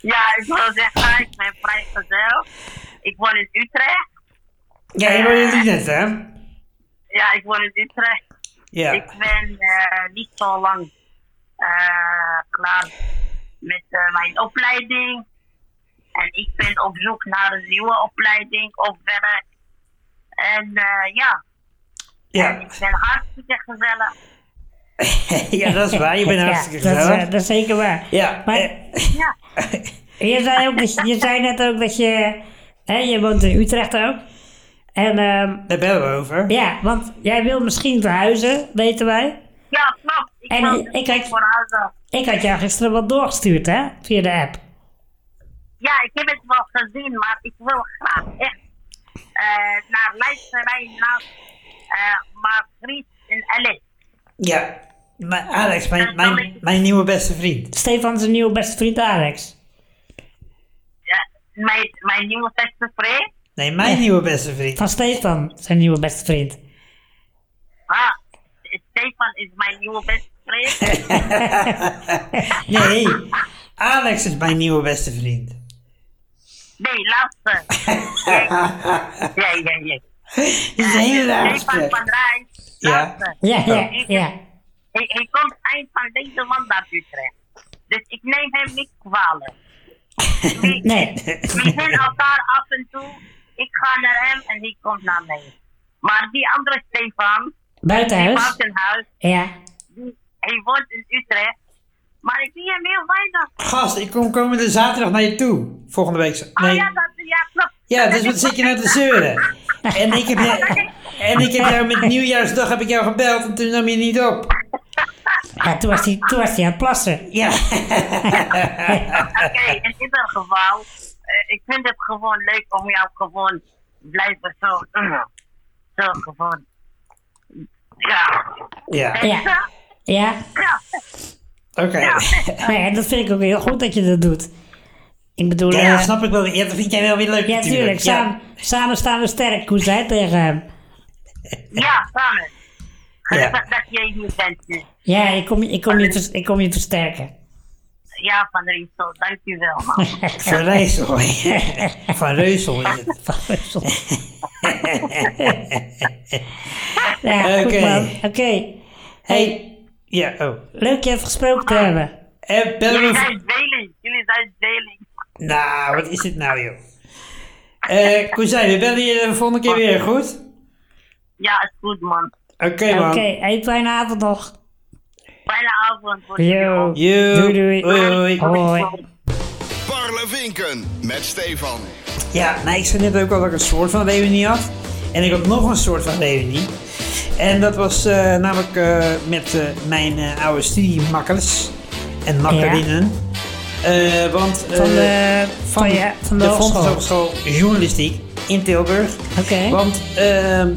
[SPEAKER 5] Ja, ik wil zeggen, ik ben vrijgezel. Ik woon in Utrecht.
[SPEAKER 2] ja, je hoorde het net, hè?
[SPEAKER 5] Ja, ik woon in Utrecht.
[SPEAKER 2] Ja.
[SPEAKER 5] Ik ben eh, niet zo lang eh, klaar met eh, mijn opleiding. En ik ben op zoek naar een nieuwe opleiding of werk. En eh, ja, en
[SPEAKER 2] Ja.
[SPEAKER 5] ik ben hartstikke gezellig.
[SPEAKER 2] [LAUGHS] [LAUGHS] ja, dat is waar. Je bent
[SPEAKER 1] Ja,
[SPEAKER 2] hartstikke
[SPEAKER 1] dat, is, eh,
[SPEAKER 2] gezellig.
[SPEAKER 1] dat is zeker waar.
[SPEAKER 2] ja,
[SPEAKER 1] Maar-
[SPEAKER 2] eh,
[SPEAKER 5] Ja.
[SPEAKER 1] Je zei, ook, dat je- je zei net ook dat je... Hè, je woont in Utrecht ook. En ehm,
[SPEAKER 2] daar bellen we over.
[SPEAKER 1] ja, want jij wil misschien verhuizen, weten wij.
[SPEAKER 5] Ja, klopt. Ik
[SPEAKER 1] En
[SPEAKER 5] wil
[SPEAKER 1] ik-
[SPEAKER 5] dus
[SPEAKER 1] ik-
[SPEAKER 5] voor huizen.
[SPEAKER 1] Ik had jou gisteren wat doorgestuurd, hè? Via de app.
[SPEAKER 5] Ja, ik heb het wel gezien, maar ik wil graag echt eh, naar luisteren naar eh Margriet en Alice.
[SPEAKER 2] Ja, maar Alex, mijn, mijn, mijn nieuwe beste vriend.
[SPEAKER 1] Stefan zijn nieuwe beste vriend Alex.
[SPEAKER 5] Ja, mijn, mijn nieuwe beste vriend.
[SPEAKER 2] Nee, mijn nieuwe beste vriend.
[SPEAKER 1] Van Stefan zijn nieuwe beste vriend.
[SPEAKER 5] Ah, Stefan is mijn nieuwe beste vriend.
[SPEAKER 2] [LAUGHS] Nee, Alex is mijn nieuwe beste vriend. [LAUGHS]
[SPEAKER 5] Nee, laatste. Ja, ja, ja.
[SPEAKER 2] Dit is een hele raar
[SPEAKER 5] Stefan van
[SPEAKER 2] gesprek.
[SPEAKER 5] Rijn,
[SPEAKER 2] Ja.
[SPEAKER 5] laatste.
[SPEAKER 1] Ja, ja, ja.
[SPEAKER 5] Hij, hij komt eind van deze maand naar Utrecht. Dus ik neem hem niet
[SPEAKER 2] [LAUGHS]
[SPEAKER 5] kwalijk. We,
[SPEAKER 1] Nee.
[SPEAKER 5] we zien elkaar af en toe. Ik ga naar hem en hij komt naar mij. Maar die andere Stefan,
[SPEAKER 1] Buitenhuis.
[SPEAKER 5] Buitenhuis,
[SPEAKER 1] Ja.
[SPEAKER 5] die, hij woont in Utrecht. Maar ik zie hem heel weinig.
[SPEAKER 2] Gast, ik kom komende zaterdag naar je toe. Volgende week. za-
[SPEAKER 5] Ah
[SPEAKER 2] Nee.
[SPEAKER 5] ja, dat, ja, klopt.
[SPEAKER 2] Ja,
[SPEAKER 5] Dat
[SPEAKER 2] dus
[SPEAKER 5] is
[SPEAKER 2] wat zit je nou te zeuren? En ik heb, je- en ik heb jou met nieuwjaarsdag heb ik jou gebeld en toen nam je niet op.
[SPEAKER 1] ja toen, was hij, toen was hij aan het plassen.
[SPEAKER 2] Ja.
[SPEAKER 5] Oké, in ieder geval, eh, ik vind het gewoon leuk om jou gewoon blijven zo, eh, zo gewoon. Ja.
[SPEAKER 2] Ja,
[SPEAKER 1] Ja.
[SPEAKER 5] Ja.
[SPEAKER 1] Ja.
[SPEAKER 5] ja.
[SPEAKER 2] oké.
[SPEAKER 1] Nee, en dat vind ik ook heel goed dat je dat doet. Ik bedoel,
[SPEAKER 2] Ja,
[SPEAKER 1] eh,
[SPEAKER 2] dat snap ik wel weer. Ja, dat vind jij wel weer leuk
[SPEAKER 1] ja, tuurlijk.
[SPEAKER 2] natuurlijk.
[SPEAKER 1] Samen, samen staan we sterk. Hoe zei het tegen hem?
[SPEAKER 5] Ja, samen.
[SPEAKER 2] Ja.
[SPEAKER 5] Dat, dat jij hier bent. dus.
[SPEAKER 1] Ja, ik kom, ik kom, je, vers- ik kom je versterken.
[SPEAKER 5] Ja, Van Riesel, dankjewel man.
[SPEAKER 2] Van
[SPEAKER 1] [LAUGHS]
[SPEAKER 2] Reusel. Van Reusel is het.
[SPEAKER 1] ja,
[SPEAKER 2] Oké.
[SPEAKER 1] goed man. Oké. Hey,
[SPEAKER 2] Ja, oh. Eh,
[SPEAKER 1] leuk je even gesproken te hebben.
[SPEAKER 2] En bel
[SPEAKER 5] Jullie
[SPEAKER 2] me...
[SPEAKER 5] zijn tweeling, jullie zijn tweeling.
[SPEAKER 2] Nou, wat is dit nou, joh? Eh, Kozijn, we bellen je de volgende keer weer, goed?
[SPEAKER 5] Ja, is goed man.
[SPEAKER 2] Oké,
[SPEAKER 1] Oké,
[SPEAKER 2] man.
[SPEAKER 1] hey, fijne avond nog.
[SPEAKER 5] Fijne avond voor jullie.
[SPEAKER 1] Yo.
[SPEAKER 5] ook.
[SPEAKER 2] Yo.
[SPEAKER 1] Doei, doei.
[SPEAKER 2] Hoi, hoi.
[SPEAKER 1] Hoi.
[SPEAKER 4] Parlevinken met Stefan.
[SPEAKER 2] Ja, nou, ik zei net ook al dat ik een soort van reunie had. En ik had nog een soort van reunie. En dat was eh, namelijk eh, met eh, mijn eh, oude studiemakkers en makkerinnen. Eh, want eh,
[SPEAKER 1] Van de, van, je Oh van de, hogeschool.
[SPEAKER 2] Fontes Hogeschool Journalistiek in Tilburg.
[SPEAKER 1] Oké.
[SPEAKER 2] Want ehm,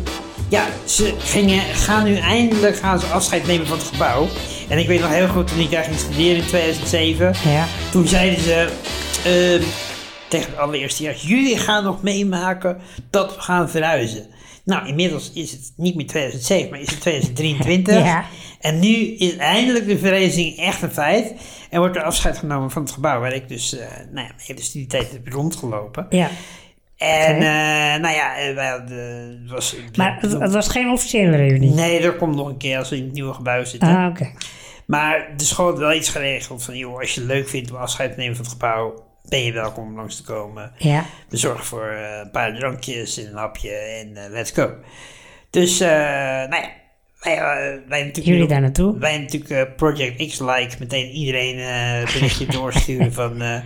[SPEAKER 2] ja, ze gingen, gaan nu eindelijk gaan ze afscheid nemen van het gebouw. En ik weet nog heel goed toen ik daar ging studeren in 2007.
[SPEAKER 1] Ja.
[SPEAKER 2] Toen zeiden ze ehm, tegen het allereerste jaar, jullie gaan nog meemaken dat we gaan verhuizen. Nou, inmiddels is het niet meer 2007, maar is het 2023.
[SPEAKER 1] Ja.
[SPEAKER 2] En nu is eindelijk de verhuizing echt een feit. En wordt er afscheid genomen van het gebouw waar ik dus eh, nou ja, mijn hele studietijd heb rondgelopen.
[SPEAKER 1] Ja,
[SPEAKER 2] En
[SPEAKER 1] Oké.
[SPEAKER 2] eh, nou ja, eh, wij hadden- het was...
[SPEAKER 1] maar het, het was geen officiële reunie.
[SPEAKER 2] Nee, er komt nog een keer als we in het nieuwe gebouw zitten.
[SPEAKER 1] Ah, oké.
[SPEAKER 2] Maar de school had wel iets geregeld van, joh, als je het leuk vindt om afscheid te nemen van het gebouw, ben je welkom om langs te komen.
[SPEAKER 1] Ja.
[SPEAKER 2] We zorgen voor eh, een paar drankjes en een hapje en eh, let's go. Dus, eh, nou ja, wij, eh, wij natuurlijk...
[SPEAKER 1] Jullie daar naartoe?
[SPEAKER 2] Wij natuurlijk eh, Project X-like meteen iedereen eh, een
[SPEAKER 1] [LAUGHS]
[SPEAKER 2] berichtje doorsturen van, eh,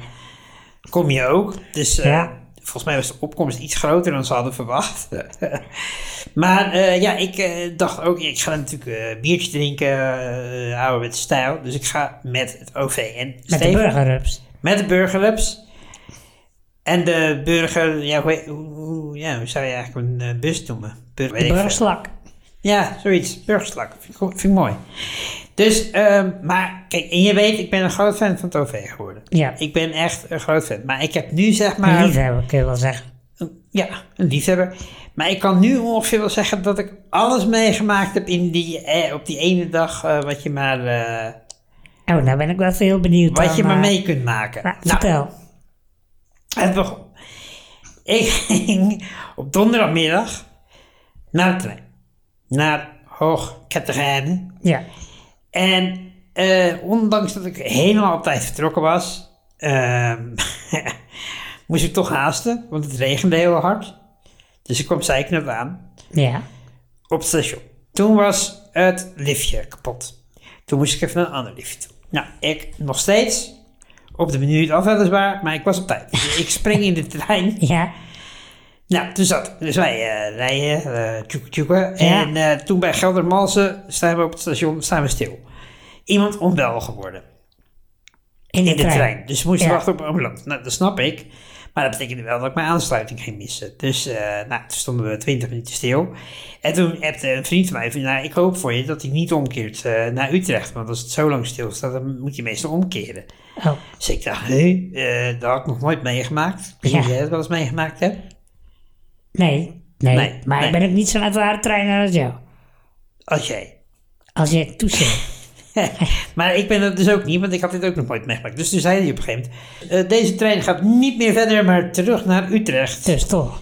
[SPEAKER 2] kom je ook? Dus eh,
[SPEAKER 1] Ja.
[SPEAKER 2] volgens mij was de opkomst iets groter dan ze hadden verwacht. [LAUGHS] maar eh, ja, ik eh, dacht ook, ik ga natuurlijk eh, biertje drinken, eh ouderwetse stijl. Dus ik ga met het OV. En
[SPEAKER 1] Met de burgerrups.
[SPEAKER 2] met de burgerlips. En de burger, ja, hoe, hoe- hoe- ja, hoe zou je eigenlijk een eh, bus noemen? Bur- weet ik veel.
[SPEAKER 1] Burgerslak.
[SPEAKER 2] Ja, zoiets. Burgerslak. Vind ik, goed- vind ik mooi. Dus, ehm, maar kijk, en je weet, ik ben een groot fan van het OV geworden.
[SPEAKER 1] Ja.
[SPEAKER 2] Ik ben echt een groot fan. Maar ik heb nu zeg maar...
[SPEAKER 1] Maar, Liefhebber, kun je wel zeggen.
[SPEAKER 2] Ja, een liefhebber. Maar ik kan nu ongeveer wel zeggen dat ik alles meegemaakt heb in die, eh, op die ene dag eh, wat je maar, eh,
[SPEAKER 1] Oh, nou ben ik wel even heel benieuwd.
[SPEAKER 2] wat
[SPEAKER 1] dan,
[SPEAKER 2] je maar
[SPEAKER 1] eh,
[SPEAKER 2] mee kunt maken.
[SPEAKER 1] nou,
[SPEAKER 2] Nou,
[SPEAKER 1] vertel.
[SPEAKER 2] Het begon. Ik ging op donderdagmiddag naar de trein. Naar Hoog Catharijnen.
[SPEAKER 1] Ja.
[SPEAKER 2] En eh, ondanks dat ik helemaal op tijd vertrokken was, ehm, [LAUGHS] moest ik toch haasten, want het regende heel hard. Dus ik kwam zeiknap aan
[SPEAKER 1] Ja.
[SPEAKER 2] op het station. Toen was het liftje kapot. Toen moest ik even naar een ander liftje toe. Nou, ik nog steeds op de minuut af weliswaar, maar ik was op tijd. Dus ik spring in de trein.
[SPEAKER 1] Ja.
[SPEAKER 2] Nou, toen zat ik. Dus wij eh, rijden, eh tjoeken tjoeken.
[SPEAKER 1] Ja.
[SPEAKER 2] En eh, toen bij Geldermalsen staan we op het station, staan we stil. Iemand onwel geworden.
[SPEAKER 1] In de,
[SPEAKER 2] in de trein. Dus moest je
[SPEAKER 1] Ja.
[SPEAKER 2] wachten op een ambulance. Nou, dat snap ik. Maar dat betekende wel dat ik mijn aansluiting ging missen. Dus eh, nou, toen stonden we 20 minuten stil. En toen appte een vriend van mij van, nou, ik hoop voor je dat hij niet omkeert eh, naar Utrecht. Want als het zo lang stil staat, dan moet je meestal omkeren.
[SPEAKER 1] Oh,
[SPEAKER 2] Dus ik dacht, hé, eh, dat had ik nog nooit meegemaakt. Ik weet niet
[SPEAKER 1] Ja.
[SPEAKER 2] of jij dat wel eens meegemaakt hebt.
[SPEAKER 1] nee, nee.
[SPEAKER 2] Nee,
[SPEAKER 1] maar
[SPEAKER 2] nee.
[SPEAKER 1] ik ben ook niet zo'n uitwaarde treiner als jou.
[SPEAKER 2] Als jij. [LAUGHS]
[SPEAKER 1] Als jij het toezegt.
[SPEAKER 2] maar ik ben dat dus ook niet, want ik had dit ook nog nooit meegemaakt. Dus toen zei hij op een gegeven moment, eh, deze trein gaat niet meer verder, maar terug naar Utrecht.
[SPEAKER 1] dus toch.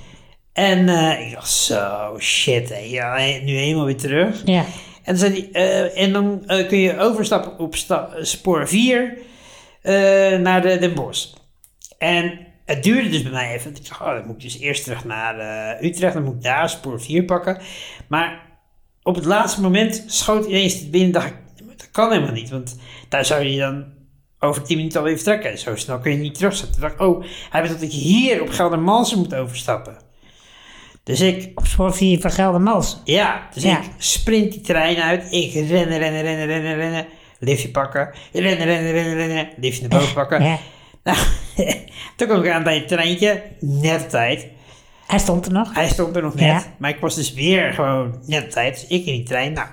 [SPEAKER 2] En eh, ik dacht, zo, shit, hè, ja, nu helemaal weer terug.
[SPEAKER 1] Ja.
[SPEAKER 2] En, dan zei die, eh, en dan eh, kun je overstappen op sta- spoor 4 eh, naar de, Den Bosch. En het duurde dus bij mij even. want Ik dacht, oh, dan moet ik dus eerst terug naar eh, Utrecht. Dan moet ik daar spoor 4 pakken. Maar op het laatste moment schoot ineens het binnen. dacht ik, dat kan helemaal niet. Want daar zou je dan over 10 minuten alweer vertrekken. Zo snel kun je niet terugzetten. Toen dacht ik, oh, hij bedoelt dat ik hier op Geldermalsen moet overstappen. Dus ik
[SPEAKER 1] Op spoor 4 van Geldermals.
[SPEAKER 2] ja, dus
[SPEAKER 1] Ja.
[SPEAKER 2] ik sprint die trein uit. Ik rennen, rennen, rennen, rennen, rennen. Liftje pakken. Rennen, rennen, rennen, rennen. Liftje naar boven pakken.
[SPEAKER 1] Ja.
[SPEAKER 2] [LAUGHS] Nou, toen kwam ik aan bij het treintje. Net op tijd.
[SPEAKER 1] Hij stond er nog.
[SPEAKER 2] Hij stond er nog net.
[SPEAKER 1] Ja.
[SPEAKER 2] Maar ik was dus weer gewoon net op tijd. Dus ik in die trein. Nou,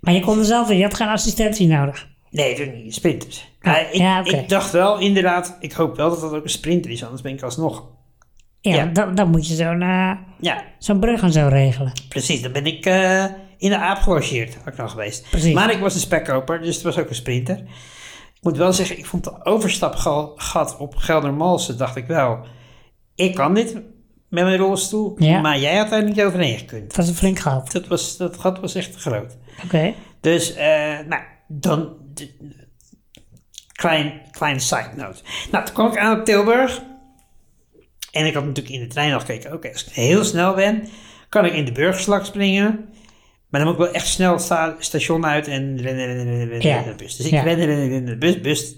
[SPEAKER 1] Maar je kon er zelf in. Je had geen assistentie nodig.
[SPEAKER 2] nee, toen niet. Sprinters.
[SPEAKER 1] Ja,
[SPEAKER 2] Maar ik,
[SPEAKER 1] Oh, ja, oké.
[SPEAKER 2] ik dacht wel, inderdaad. Ik hoop wel dat dat ook een sprinter is. Anders ben ik alsnog.
[SPEAKER 1] Ja,
[SPEAKER 2] Ja.
[SPEAKER 1] Dan, dan moet je zo'n eh,
[SPEAKER 2] Ja,
[SPEAKER 1] zo'n brug en zo regelen.
[SPEAKER 2] precies. Dan ben ik eh, in de aap gelogeerd, had ik nog geweest.
[SPEAKER 1] Precies.
[SPEAKER 2] Maar ik was een spekkoper, dus het was ook een sprinter. Ik moet wel zeggen, ik vond de overstapgat op Geldermalsen, dacht ik wel. Ik kan dit met mijn rolstoel,
[SPEAKER 1] Ja.
[SPEAKER 2] maar jij had daar niet overheen gekund.
[SPEAKER 1] Het was een flink gat.
[SPEAKER 2] Dat, was, dat gat was echt groot.
[SPEAKER 1] Oké.
[SPEAKER 2] Dus, eh, nou, dan... d- Klein, klein side note. Nou, toen kwam ik aan op Tilburg. En ik had natuurlijk in de trein al gekeken. Oké, als ik heel snel ben, kan ik in de burgerslag springen. Maar dan moet ik wel echt snel het sta- station uit en rennen, rennen, rennen, rennen
[SPEAKER 1] Ja.
[SPEAKER 2] naar de bus. Dus ik
[SPEAKER 1] Ja.
[SPEAKER 2] rende, rende, rende naar de bus. bus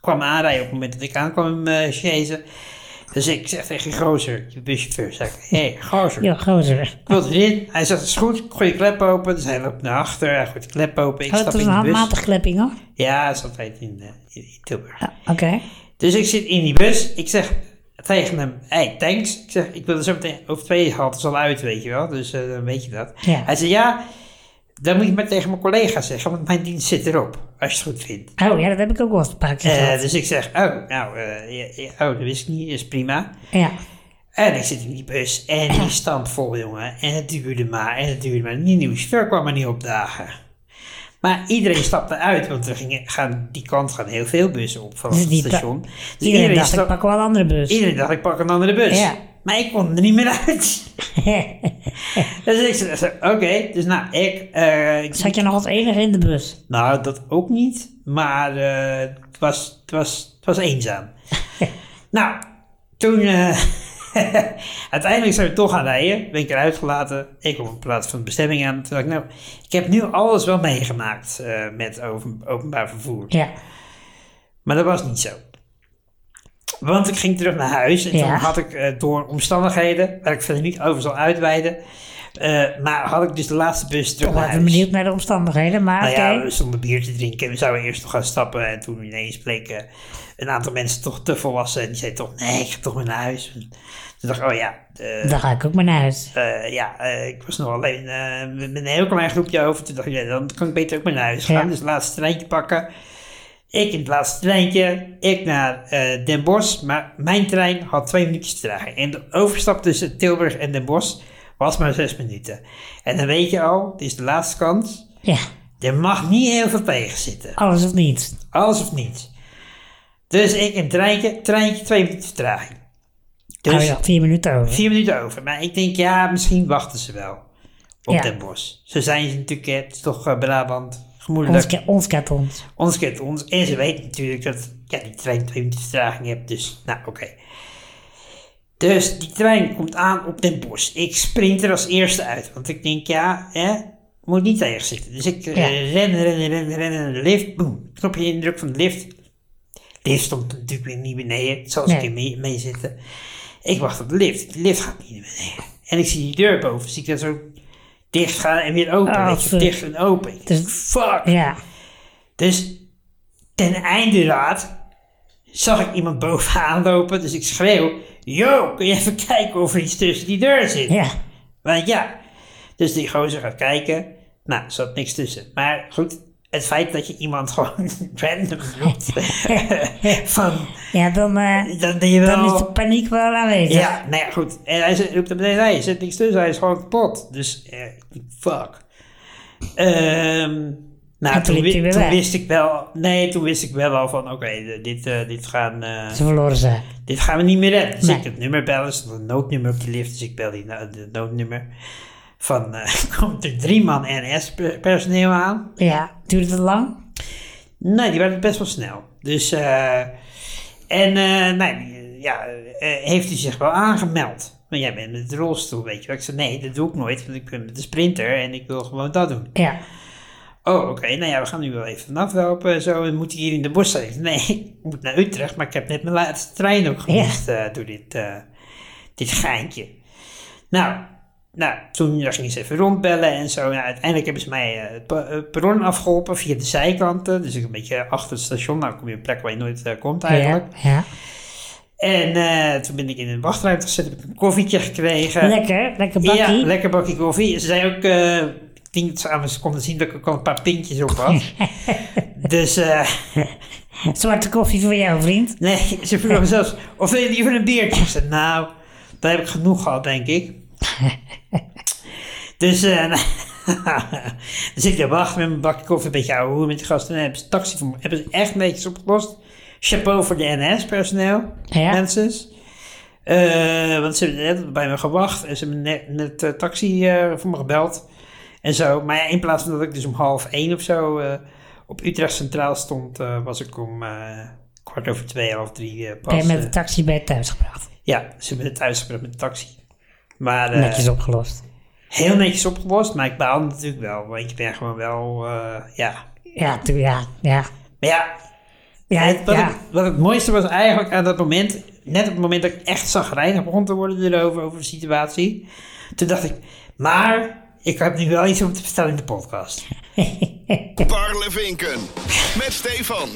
[SPEAKER 2] kwam aanrijden op het moment dat ik aankwam eh chasen. Dus ik zeg tegen die gozer, je buschauffeur, zeg ik, hé, hey, gozer.
[SPEAKER 1] Ja, gozer.
[SPEAKER 2] Ik wilde erin. Hij zegt, het is goed. Ik gooi de klep open. Dus hij loopt naar achter. Hij gooit de klep open. Ik
[SPEAKER 1] Oh,
[SPEAKER 2] stap
[SPEAKER 1] het was
[SPEAKER 2] in
[SPEAKER 1] een
[SPEAKER 2] de bus.
[SPEAKER 1] handmatig klepping hoor.
[SPEAKER 2] Ja, dat is altijd in, eh, in- in Tilburg.
[SPEAKER 1] Ja, Oké.
[SPEAKER 2] Dus ik zit in die bus. Ik zeg tegen hem, hey, thanks. Ik zeg, ik wil er zo meteen over twee haltes al uit, weet je wel. Dus eh, dan weet je dat.
[SPEAKER 1] Ja.
[SPEAKER 2] Hij zegt, ja, dan moet je maar tegen mijn collega zeggen. Want mijn dienst zit erop. Als je het goed vindt.
[SPEAKER 1] Oh ja, dat heb ik ook wel eens een paar keer
[SPEAKER 2] Eh,
[SPEAKER 1] gehad.
[SPEAKER 2] dus ik zeg, oh, nou, eh, ja, ja, oh, dat wist ik niet. is prima.
[SPEAKER 1] Ja.
[SPEAKER 2] dus En ik zit in die bus en die stamp vol, jongen. En het duurde maar en het duurde maar. Die nieuwe chauffeur kwam er niet opdagen. Maar iedereen stapte uit, want er gingen, gaan, die kant gaan heel veel bussen op vanaf
[SPEAKER 1] Dus
[SPEAKER 2] het
[SPEAKER 1] die pa-
[SPEAKER 2] station. Dus
[SPEAKER 1] Iedereen, dacht,
[SPEAKER 2] stap-
[SPEAKER 1] ik pak wel een andere bus.
[SPEAKER 2] iedereen dacht, ik pak een andere bus.
[SPEAKER 1] Ja.
[SPEAKER 2] Maar ik kon er niet meer uit. [LAUGHS] dus ik zei, zo, oké, dus nou, ik... eh,
[SPEAKER 1] [LAUGHS]
[SPEAKER 2] ik-
[SPEAKER 1] Zat je nog als enige in de bus?
[SPEAKER 2] nou, dat ook niet, maar eh, het, was, het, was, het was
[SPEAKER 1] [LAUGHS]
[SPEAKER 2] eenzaam. nou, toen eh, [LAUGHS] uiteindelijk zijn we toch gaan rijden. Ben ik eruit gelaten. Ik kwam op plaats van de bestemming aan. Toen dacht ik, nou, ik heb nu alles wel meegemaakt eh, met open- openbaar vervoer.
[SPEAKER 1] Ja.
[SPEAKER 2] Maar dat was niet zo. Want ik ging terug naar huis en toen
[SPEAKER 1] Ja.
[SPEAKER 2] had ik eh, door omstandigheden, waar ik verder niet over zal uitweiden, eh, maar had ik dus de laatste bus terug
[SPEAKER 1] Ik
[SPEAKER 2] naar
[SPEAKER 1] ben
[SPEAKER 2] huis.
[SPEAKER 1] benieuwd naar de omstandigheden, maar
[SPEAKER 2] Nou
[SPEAKER 1] oké.
[SPEAKER 2] ja, we stonden bier te drinken en we zouden eerst nog gaan stappen. En toen ineens bleken een aantal mensen toch te volwassen. En die zeiden toch, nee, ik ga toch maar naar huis. En toen dacht ik, oh ja, eh,
[SPEAKER 1] Dan ga ik ook maar naar huis.
[SPEAKER 2] eh, ja eh, ik was nog alleen eh, met met een heel klein groepje over. Toen dacht ik, ja, dan kan ik beter ook maar naar huis gaan.
[SPEAKER 1] Ja.
[SPEAKER 2] Dus het laatste treintje pakken. Ik in het laatste treintje, ik naar eh, Den Bosch. Maar mijn trein had twee minuutjes te dragen. En de overstap tussen Tilburg en Den Bosch was maar zes minuten. En dan weet je al, dit is de laatste kans.
[SPEAKER 1] Ja,
[SPEAKER 2] Er mag niet heel veel tegen zitten.
[SPEAKER 1] alles of niets.
[SPEAKER 2] Alles of niets. Dus ik een treintje, treintje twee minuten vertraging. Dus
[SPEAKER 1] Hou je nog vier minuten over.
[SPEAKER 2] vier minuten over. Maar ik denk, ja, misschien wachten ze wel op
[SPEAKER 1] Ja.
[SPEAKER 2] Den Bosch. Zo zijn ze natuurlijk, hè, het is toch eh, Brabant,
[SPEAKER 1] Ons,
[SPEAKER 2] gemoedelijk.
[SPEAKER 1] ke- ons kent ons.
[SPEAKER 2] Ons kent ons. En ze weten natuurlijk dat ja, die trein twee minuten vertraging hebt. Dus, nou, oké. Dus die trein komt aan op Den Bosch. Ik sprint er als eerste uit. Want ik denk, ja, hè, moet niet tegen zitten. Dus ik eh, ren, ren, ren, ren naar de lift. Boem. Knopje indruk van de lift. De lift stond natuurlijk weer niet beneden. Het zal eens
[SPEAKER 1] Nee.
[SPEAKER 2] een keer mee, mee zitten. Ik wacht op de lift. De lift gaat niet naar beneden. En ik zie die deur boven. Zie ik dat zo dicht gaan en weer open.
[SPEAKER 1] Oh,
[SPEAKER 2] Weet je,
[SPEAKER 1] fuck.
[SPEAKER 2] dicht en open. Ik denk,
[SPEAKER 1] Dus-
[SPEAKER 2] fuck.
[SPEAKER 1] Ja,
[SPEAKER 2] Dus Ten einde raad zag ik iemand bovenaan lopen, dus ik schreeuw: Yo, kun je even kijken of er iets tussen die deur zit?
[SPEAKER 1] Ja.
[SPEAKER 2] Want ja, dus die gozer gaat kijken. Nou, er zat niks tussen. Maar goed, het feit dat je iemand [LAUGHS] gewoon random noemt. [LAUGHS] van,
[SPEAKER 1] Ja, dan, eh,
[SPEAKER 2] dan ben je wel...
[SPEAKER 1] dan is de paniek wel aanwezig.
[SPEAKER 2] Nou. Ja, nou ja, goed. En hij zit- roept hem meteen, nee, er zit niks tussen, hij is gewoon kapot. Dus, eh, fuck. Ehm, nou,
[SPEAKER 1] En toen
[SPEAKER 2] toen,
[SPEAKER 1] liep
[SPEAKER 2] wi-
[SPEAKER 1] hij weer
[SPEAKER 2] toen
[SPEAKER 1] weg.
[SPEAKER 2] wist ik wel, nee, toen wist ik wel al van, oké, de- dit, eh, dit, gaan, eh,
[SPEAKER 1] Ze verloren ze.
[SPEAKER 2] dit gaan we niet meer redden. Dus
[SPEAKER 1] Nee.
[SPEAKER 2] ik het nummer bellen, er stond een noodnummer op die lift, dus ik bel die no- de noodnummer. Van, eh, [LAUGHS] komt er drie man NS-personeel aan?
[SPEAKER 1] Ja, duurde het lang?
[SPEAKER 2] Nee, die werden best wel snel. Dus, eh, en eh, nee, die, ja, eh, heeft hij zich wel aangemeld. Maar jij bent met de rolstoel, weet je wel. Ik zei, nee, dat doe ik nooit, want ik ben met de sprinter en ik wil gewoon dat doen.
[SPEAKER 1] Ja.
[SPEAKER 2] Oh, oké, nou ja, we gaan nu wel even vanaf lopen en zo. En moet hij hier in de bos zijn? [LAUGHS] Ik zei, Nee, ik moet naar Utrecht, maar ik heb net mijn laatste trein ook gemist eh, door dit, eh, dit geintje. Nou, nou, toen ging ze even rondbellen en zo. Nou, uiteindelijk hebben ze mij eh, het pa- het perron afgeholpen via de zijkanten. Dus ik een beetje achter het station. Nou, kom je op een plek waar je nooit eh, komt eigenlijk.
[SPEAKER 1] Ja. ja.
[SPEAKER 2] En eh, toen ben ik in een wachtruimte gezet, heb ik een koffietje
[SPEAKER 1] [LAUGHS]
[SPEAKER 2] gekregen.
[SPEAKER 1] Lekker, lekker bakkie.
[SPEAKER 2] Ja, lekker bakje koffie. Ze zei ook, eh, ik denk dat ze aan me konden zien dat ik ook al een paar pintjes op
[SPEAKER 1] [LAUGHS]
[SPEAKER 2] had. dus eh,
[SPEAKER 1] Zwarte koffie voor jou, vriend.
[SPEAKER 2] nee, ze vroeg me zelfs, of wil je liever een biertje? Ik zei, nou, daar heb ik genoeg gehad, denk
[SPEAKER 1] [LAUGHS]
[SPEAKER 2] ik. dus, eh [LAUGHS] dus ik daar wacht met mijn bakje koffie, een beetje ouwe hoer met de gasten. En hebben ze taxi voor me, hebben ze echt netjes opgelost. Chapeau voor de NS-personeel,
[SPEAKER 1] Ja.
[SPEAKER 2] mensen. Eh, want ze hebben net bij me gewacht en ze hebben net, net, eh, taxi eh, voor me gebeld. En zo. Maar ja, in plaats van dat ik dus om half één of zo eh, op Utrecht Centraal stond, eh, was ik om eh, kwart over twee, half drie eh, pas.
[SPEAKER 1] Ben je met
[SPEAKER 2] eh,
[SPEAKER 1] de taxi bij thuis gebracht.
[SPEAKER 2] ja, ze hebben het uitgebracht met de taxi. Maar eh,
[SPEAKER 1] Netjes opgelost.
[SPEAKER 2] heel netjes opgelost, maar ik baal natuurlijk wel. Want je bent gewoon wel, eh, ja.
[SPEAKER 1] Ja, toen, ja, ja.
[SPEAKER 2] Maar ja,
[SPEAKER 1] Ja,
[SPEAKER 2] het- wat,
[SPEAKER 1] ja.
[SPEAKER 2] Het, wat het mooiste was eigenlijk aan dat moment, net op het moment dat ik echt zagrijnig begon te worden erover, over de situatie. Toen dacht ik, maar ik heb nu wel iets om te vertellen in de podcast.
[SPEAKER 4] Parlevinken. Met Stefan.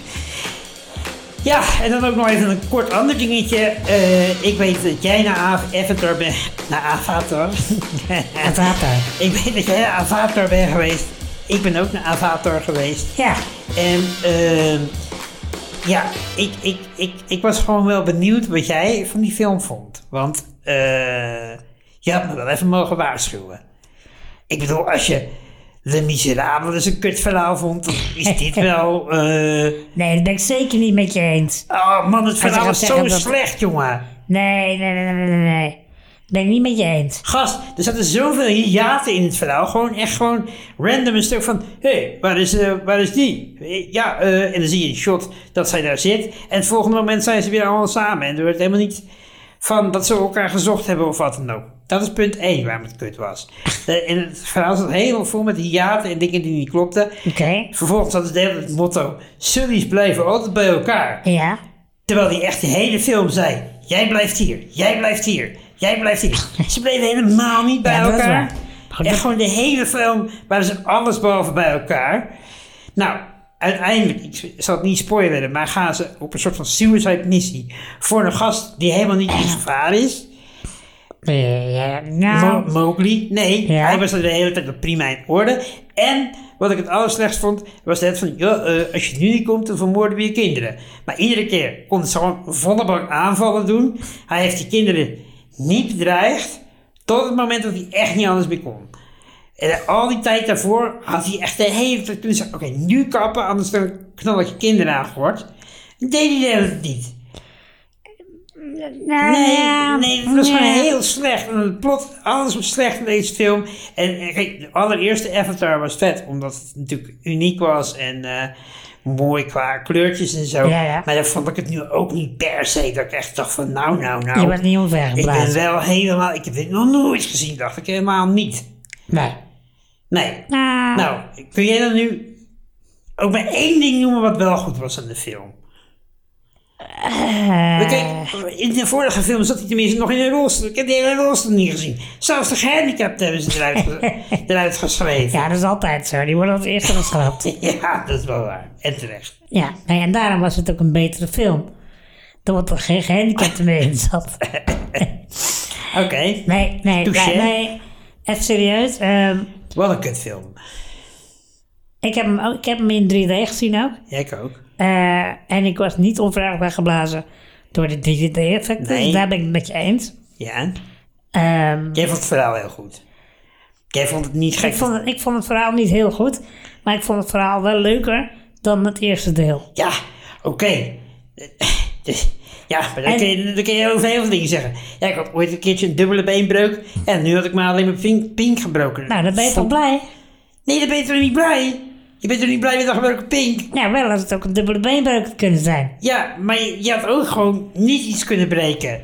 [SPEAKER 2] Ja, en dan ook nog even een kort ander dingetje. Eh, ik weet dat jij naar Av- Avatar bent. Naar Avatar. [LAUGHS]
[SPEAKER 1] Het water.
[SPEAKER 2] ik weet dat jij naar Avatar bent geweest. Ik ben ook naar Avatar geweest.
[SPEAKER 1] Ja.
[SPEAKER 2] En ehm, ja, ik, ik, ik, ik was gewoon wel benieuwd wat jij van die film vond. Want eh, je had me wel even mogen waarschuwen. Ik bedoel, als je Le Misérables een kutverhaal vond, dan is dit wel... eh,
[SPEAKER 1] Nee, dat ben ik zeker niet met je eens.
[SPEAKER 2] oh man, het verhaal
[SPEAKER 1] gaat
[SPEAKER 2] is zo
[SPEAKER 1] zeggen dat-
[SPEAKER 2] slecht, jongen.
[SPEAKER 1] Nee, nee, nee, nee, nee, nee. Dat ben ik niet met je eens.
[SPEAKER 2] Gast, er zaten zoveel hiaten in het verhaal. Gewoon echt gewoon random een stuk van... Hé, hey, waar, is, eh, waar is die? Eh, Ja, eh, en dan zie je een shot dat zij daar zit. En het volgende moment zijn ze weer allemaal samen. En er wordt helemaal niet van dat ze elkaar gezocht hebben of wat dan ook. Dat is punt 1 waarom het kut was. Eh, en het verhaal zat helemaal vol met hiaten en dingen die niet klopten.
[SPEAKER 1] Oké.
[SPEAKER 2] Vervolgens had het hele tijd het motto... Sully's blijven altijd bij elkaar.
[SPEAKER 1] Ja.
[SPEAKER 2] Terwijl hij echt de hele film zei: Jij blijft hier, jij blijft hier, jij blijft
[SPEAKER 1] [LAUGHS]
[SPEAKER 2] hier. Ze bleven helemaal niet bij
[SPEAKER 1] Ja, dat is
[SPEAKER 2] elkaar.
[SPEAKER 1] waar. Maar
[SPEAKER 2] Echt
[SPEAKER 1] dat-
[SPEAKER 2] gewoon de hele film waren ze alles behalve bij elkaar. Nou, uiteindelijk, ik zal het niet spoileren, maar gaan ze op een soort van suicide missie voor een gast die helemaal niet in gevaar is.
[SPEAKER 1] Eh, ja,
[SPEAKER 2] Mo-
[SPEAKER 1] nou.
[SPEAKER 2] Mowgli. Nee,
[SPEAKER 1] Ja.
[SPEAKER 2] hij was er de hele tijd op prima in orde. En wat ik het allerslechtst vond, was net van, joh, eh, als je nu niet komt, dan vermoorden we je kinderen. Maar iedere keer kon ze gewoon volle bak aanvallen doen. Hij heeft die kinderen niet bedreigd, tot het moment dat hij echt niet anders meer kon. En al die tijd daarvoor had hij echt de hele tijd kunnen zeggen, oké, nu kappen, anders dan knal ik je kinderen aan gehoord. Deed hij de hele tijd niet.
[SPEAKER 1] nou, ja,
[SPEAKER 2] Nee, nee, het was gewoon
[SPEAKER 1] ja.
[SPEAKER 2] heel slecht. En het plot, alles was slecht in deze film. En eh, kijk, de allereerste Avatar was vet, omdat het natuurlijk uniek was en eh, mooi qua kleurtjes en zo.
[SPEAKER 1] Ja, ja.
[SPEAKER 2] Maar dan vond ik het nu ook niet per se dat ik echt dacht van nou, nou, nou.
[SPEAKER 1] Je bent niet
[SPEAKER 2] ik ben
[SPEAKER 1] omvergeblazen.
[SPEAKER 2] wel helemaal, ik heb dit nog nooit gezien, dacht ik helemaal niet.
[SPEAKER 1] Nee.
[SPEAKER 2] Nee.
[SPEAKER 1] Nou,
[SPEAKER 2] Nou, kun jij dan nu ook maar één ding noemen wat wel goed was aan de film? Maar Kijk, in de vorige film zat hij tenminste nog in een rolstoel. Ik heb die hele rolstoel niet gezien. Zelfs de gehandicapten hebben ze eruit, ge- eruit geschreven.
[SPEAKER 1] Ja, dat is altijd zo. Die worden als eerste geschrapt.
[SPEAKER 2] [LAUGHS] Ja, dat is wel waar. En terecht.
[SPEAKER 1] Ja, nee, en daarom was het ook een betere film. Dan wordt er geen gehandicapte meer in zat.
[SPEAKER 2] Oké,
[SPEAKER 1] Nee, nee,
[SPEAKER 2] Touché.
[SPEAKER 1] nee, nee. Echt serieus. ehm,
[SPEAKER 2] wat een kutfilm.
[SPEAKER 1] ik, heb hem, ook- ik heb hem in 3D gezien ook.
[SPEAKER 2] Ja, ik ook.
[SPEAKER 1] Eh, en ik was niet onvraagbaar geblazen door de 3D-effecten.
[SPEAKER 2] Nee.
[SPEAKER 1] Daar ben ik het met je eens.
[SPEAKER 2] Ja,
[SPEAKER 1] Ehm,
[SPEAKER 2] jij vond het verhaal heel goed. Jij vond het niet gek.
[SPEAKER 1] ik, vond het, ik vond het verhaal niet heel goed. Maar ik vond het verhaal wel leuker dan het eerste deel.
[SPEAKER 2] Ja, oké. Ja, maar dan,
[SPEAKER 1] En-
[SPEAKER 2] kun je, dan kun je over heel veel dingen zeggen. Ja, ik had ooit een keertje een dubbele beenbreuk. En nu had ik maar alleen mijn pink, pink gebroken.
[SPEAKER 1] Nou, dan ben je
[SPEAKER 2] Vond-
[SPEAKER 1] toch blij?
[SPEAKER 2] Nee, dan ben je toch niet blij? Je bent toch niet blij met een gebroken pink?
[SPEAKER 1] Ja, wel als het ook een dubbele beenbreuk had kunnen zijn.
[SPEAKER 2] Ja, maar je, je had ook gewoon niet iets kunnen breken.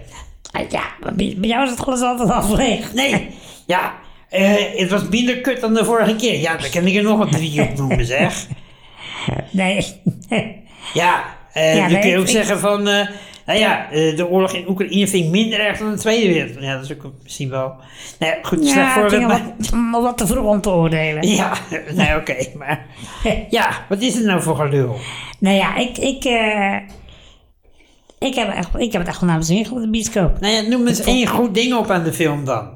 [SPEAKER 1] Ah, Ja, maar bij bij jou is het glas altijd half leeg. [LAUGHS]
[SPEAKER 2] Nee, ja, eh, het was minder kut dan de vorige keer. Ja, dan kan ik er nog wat drie op noemen, zeg.
[SPEAKER 1] Nee.
[SPEAKER 2] Ja, eh,
[SPEAKER 1] Ja,
[SPEAKER 2] dan
[SPEAKER 1] nee,
[SPEAKER 2] kun je
[SPEAKER 1] ik-
[SPEAKER 2] ook
[SPEAKER 1] ik-
[SPEAKER 2] zeggen van... eh, nou ja, eh, de oorlog in Oekraïne vind ik minder erg dan de Tweede Wereldoorlog. Ja, dat is ook misschien wel... Nou ja, goed, slecht
[SPEAKER 1] Ja, ik
[SPEAKER 2] voorbeeld,
[SPEAKER 1] vind
[SPEAKER 2] maar...
[SPEAKER 1] het wat, om wat te vroeg om te oordelen.
[SPEAKER 2] [LAUGHS] Ja, nee, oké,
[SPEAKER 1] [LAUGHS]
[SPEAKER 2] maar... Ja, wat is het nou voor gelul?
[SPEAKER 1] Nou ja, ik, ik, eh, ik, heb, echt, ik heb het echt wel naar mijn zin gehad in de bioscoop.
[SPEAKER 2] Nou ja, noem eens één goed ding op aan de film dan.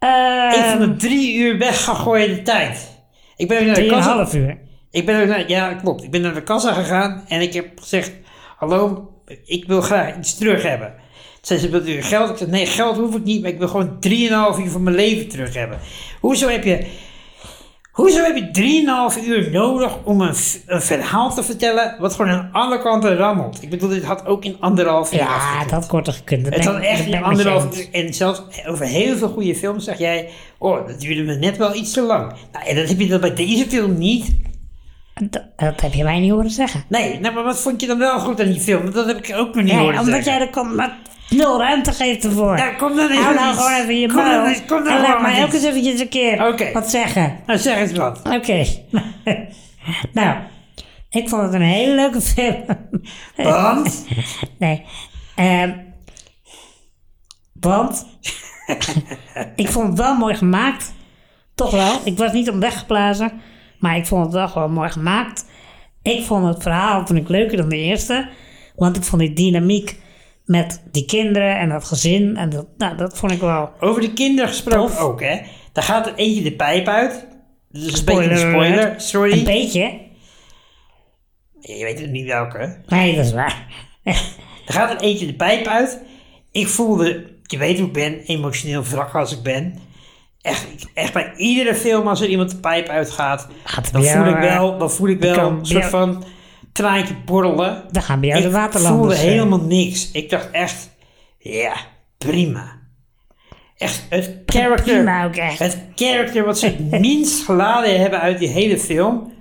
[SPEAKER 2] Ik
[SPEAKER 1] Eh,
[SPEAKER 2] vond het drie uur weggegooide tijd. Ik ben ook naar de kassa...
[SPEAKER 1] Drieënhalf uur.
[SPEAKER 2] Ik ben ook naar, ja, klopt. Ik ben naar de kassa gegaan en ik heb gezegd: Hallo, ik wil graag iets terug hebben. Toen zei ze: Wilt u geld? Ik zei: Nee, geld hoef ik niet, maar ik wil gewoon 3,5 uur van mijn leven terug hebben. Hoezo heb je. Hoezo heb je 3,5 uur nodig om een, f- een verhaal te vertellen wat gewoon aan alle kanten rammelt? Ik bedoel, dit had ook in anderhalf uur.
[SPEAKER 1] Ja,
[SPEAKER 2] afgekund.
[SPEAKER 1] dat had korter gekund. Dat
[SPEAKER 2] Het
[SPEAKER 1] ben-
[SPEAKER 2] had echt
[SPEAKER 1] dat
[SPEAKER 2] in
[SPEAKER 1] ben ik met je
[SPEAKER 2] anderhalf
[SPEAKER 1] eens.
[SPEAKER 2] uur. En zelfs over heel veel goede films zeg jij: Oh, dat duurde me net wel iets te lang. Nou, en dat heb je dan bij deze film niet.
[SPEAKER 1] Dat, dat heb je mij niet horen zeggen.
[SPEAKER 2] Nee, nou, maar wat vond je dan wel goed aan die film? Want dat heb ik ook nog niet
[SPEAKER 1] Nee,
[SPEAKER 2] horen
[SPEAKER 1] omdat jij
[SPEAKER 2] zeggen.
[SPEAKER 1] er komt maar nul ruimte geeft ervoor.
[SPEAKER 2] Ja, kom dan eens
[SPEAKER 1] Hou
[SPEAKER 2] met
[SPEAKER 1] nou
[SPEAKER 2] iets.
[SPEAKER 1] gewoon even je
[SPEAKER 2] Kom dan
[SPEAKER 1] muil.
[SPEAKER 2] eens- kom dan
[SPEAKER 1] en laat
[SPEAKER 2] gewoon met
[SPEAKER 1] mij ook
[SPEAKER 2] iets.
[SPEAKER 1] eens eventjes een keer
[SPEAKER 2] Oké.
[SPEAKER 1] wat zeggen.
[SPEAKER 2] Nou, zeg eens wat.
[SPEAKER 1] Oké. [LAUGHS] nou, ik vond het een hele leuke film.
[SPEAKER 2] Want?
[SPEAKER 1] nee. Ehm,
[SPEAKER 2] [LAUGHS]
[SPEAKER 1] want ik vond het wel mooi gemaakt. Toch wel. Ik was niet om weggeblazen. Maar ik vond het wel gewoon mooi gemaakt. Ik vond het verhaal vond ik leuker dan de eerste. Want ik vond die dynamiek met die kinderen en dat gezin. En dat, nou, dat vond ik wel.
[SPEAKER 2] Over de kinderen gesproken
[SPEAKER 1] Tof.
[SPEAKER 2] ook, hè. Daar gaat er eentje de pijp uit. Dat is een beetje een
[SPEAKER 1] Spoiler alert.
[SPEAKER 2] spoiler, sorry.
[SPEAKER 1] Een beetje.
[SPEAKER 2] je weet het niet welke. hè.
[SPEAKER 1] Nee, dat is waar. [LAUGHS]
[SPEAKER 2] Er gaat er eentje de pijp uit. Ik voelde, je weet hoe ik ben, emotioneel wrak als ik ben. Echt, echt bij iedere film als er iemand de pijp uitgaat,
[SPEAKER 1] Gaat er
[SPEAKER 2] dan,
[SPEAKER 1] bij jou,
[SPEAKER 2] voel ik
[SPEAKER 1] eh,
[SPEAKER 2] wel, dan voel ik wel
[SPEAKER 1] kan-
[SPEAKER 2] een soort
[SPEAKER 1] bij
[SPEAKER 2] van traantje borrelen.
[SPEAKER 1] Dan gaan bij jou de
[SPEAKER 2] Ik voelde
[SPEAKER 1] waterlanders. eh,
[SPEAKER 2] helemaal niks. Ik dacht echt, ja, prima. Echt, het character,
[SPEAKER 1] prima ook echt.
[SPEAKER 2] het character wat
[SPEAKER 1] [LAUGHS]
[SPEAKER 2] ze het minst geladen hebben uit die hele film.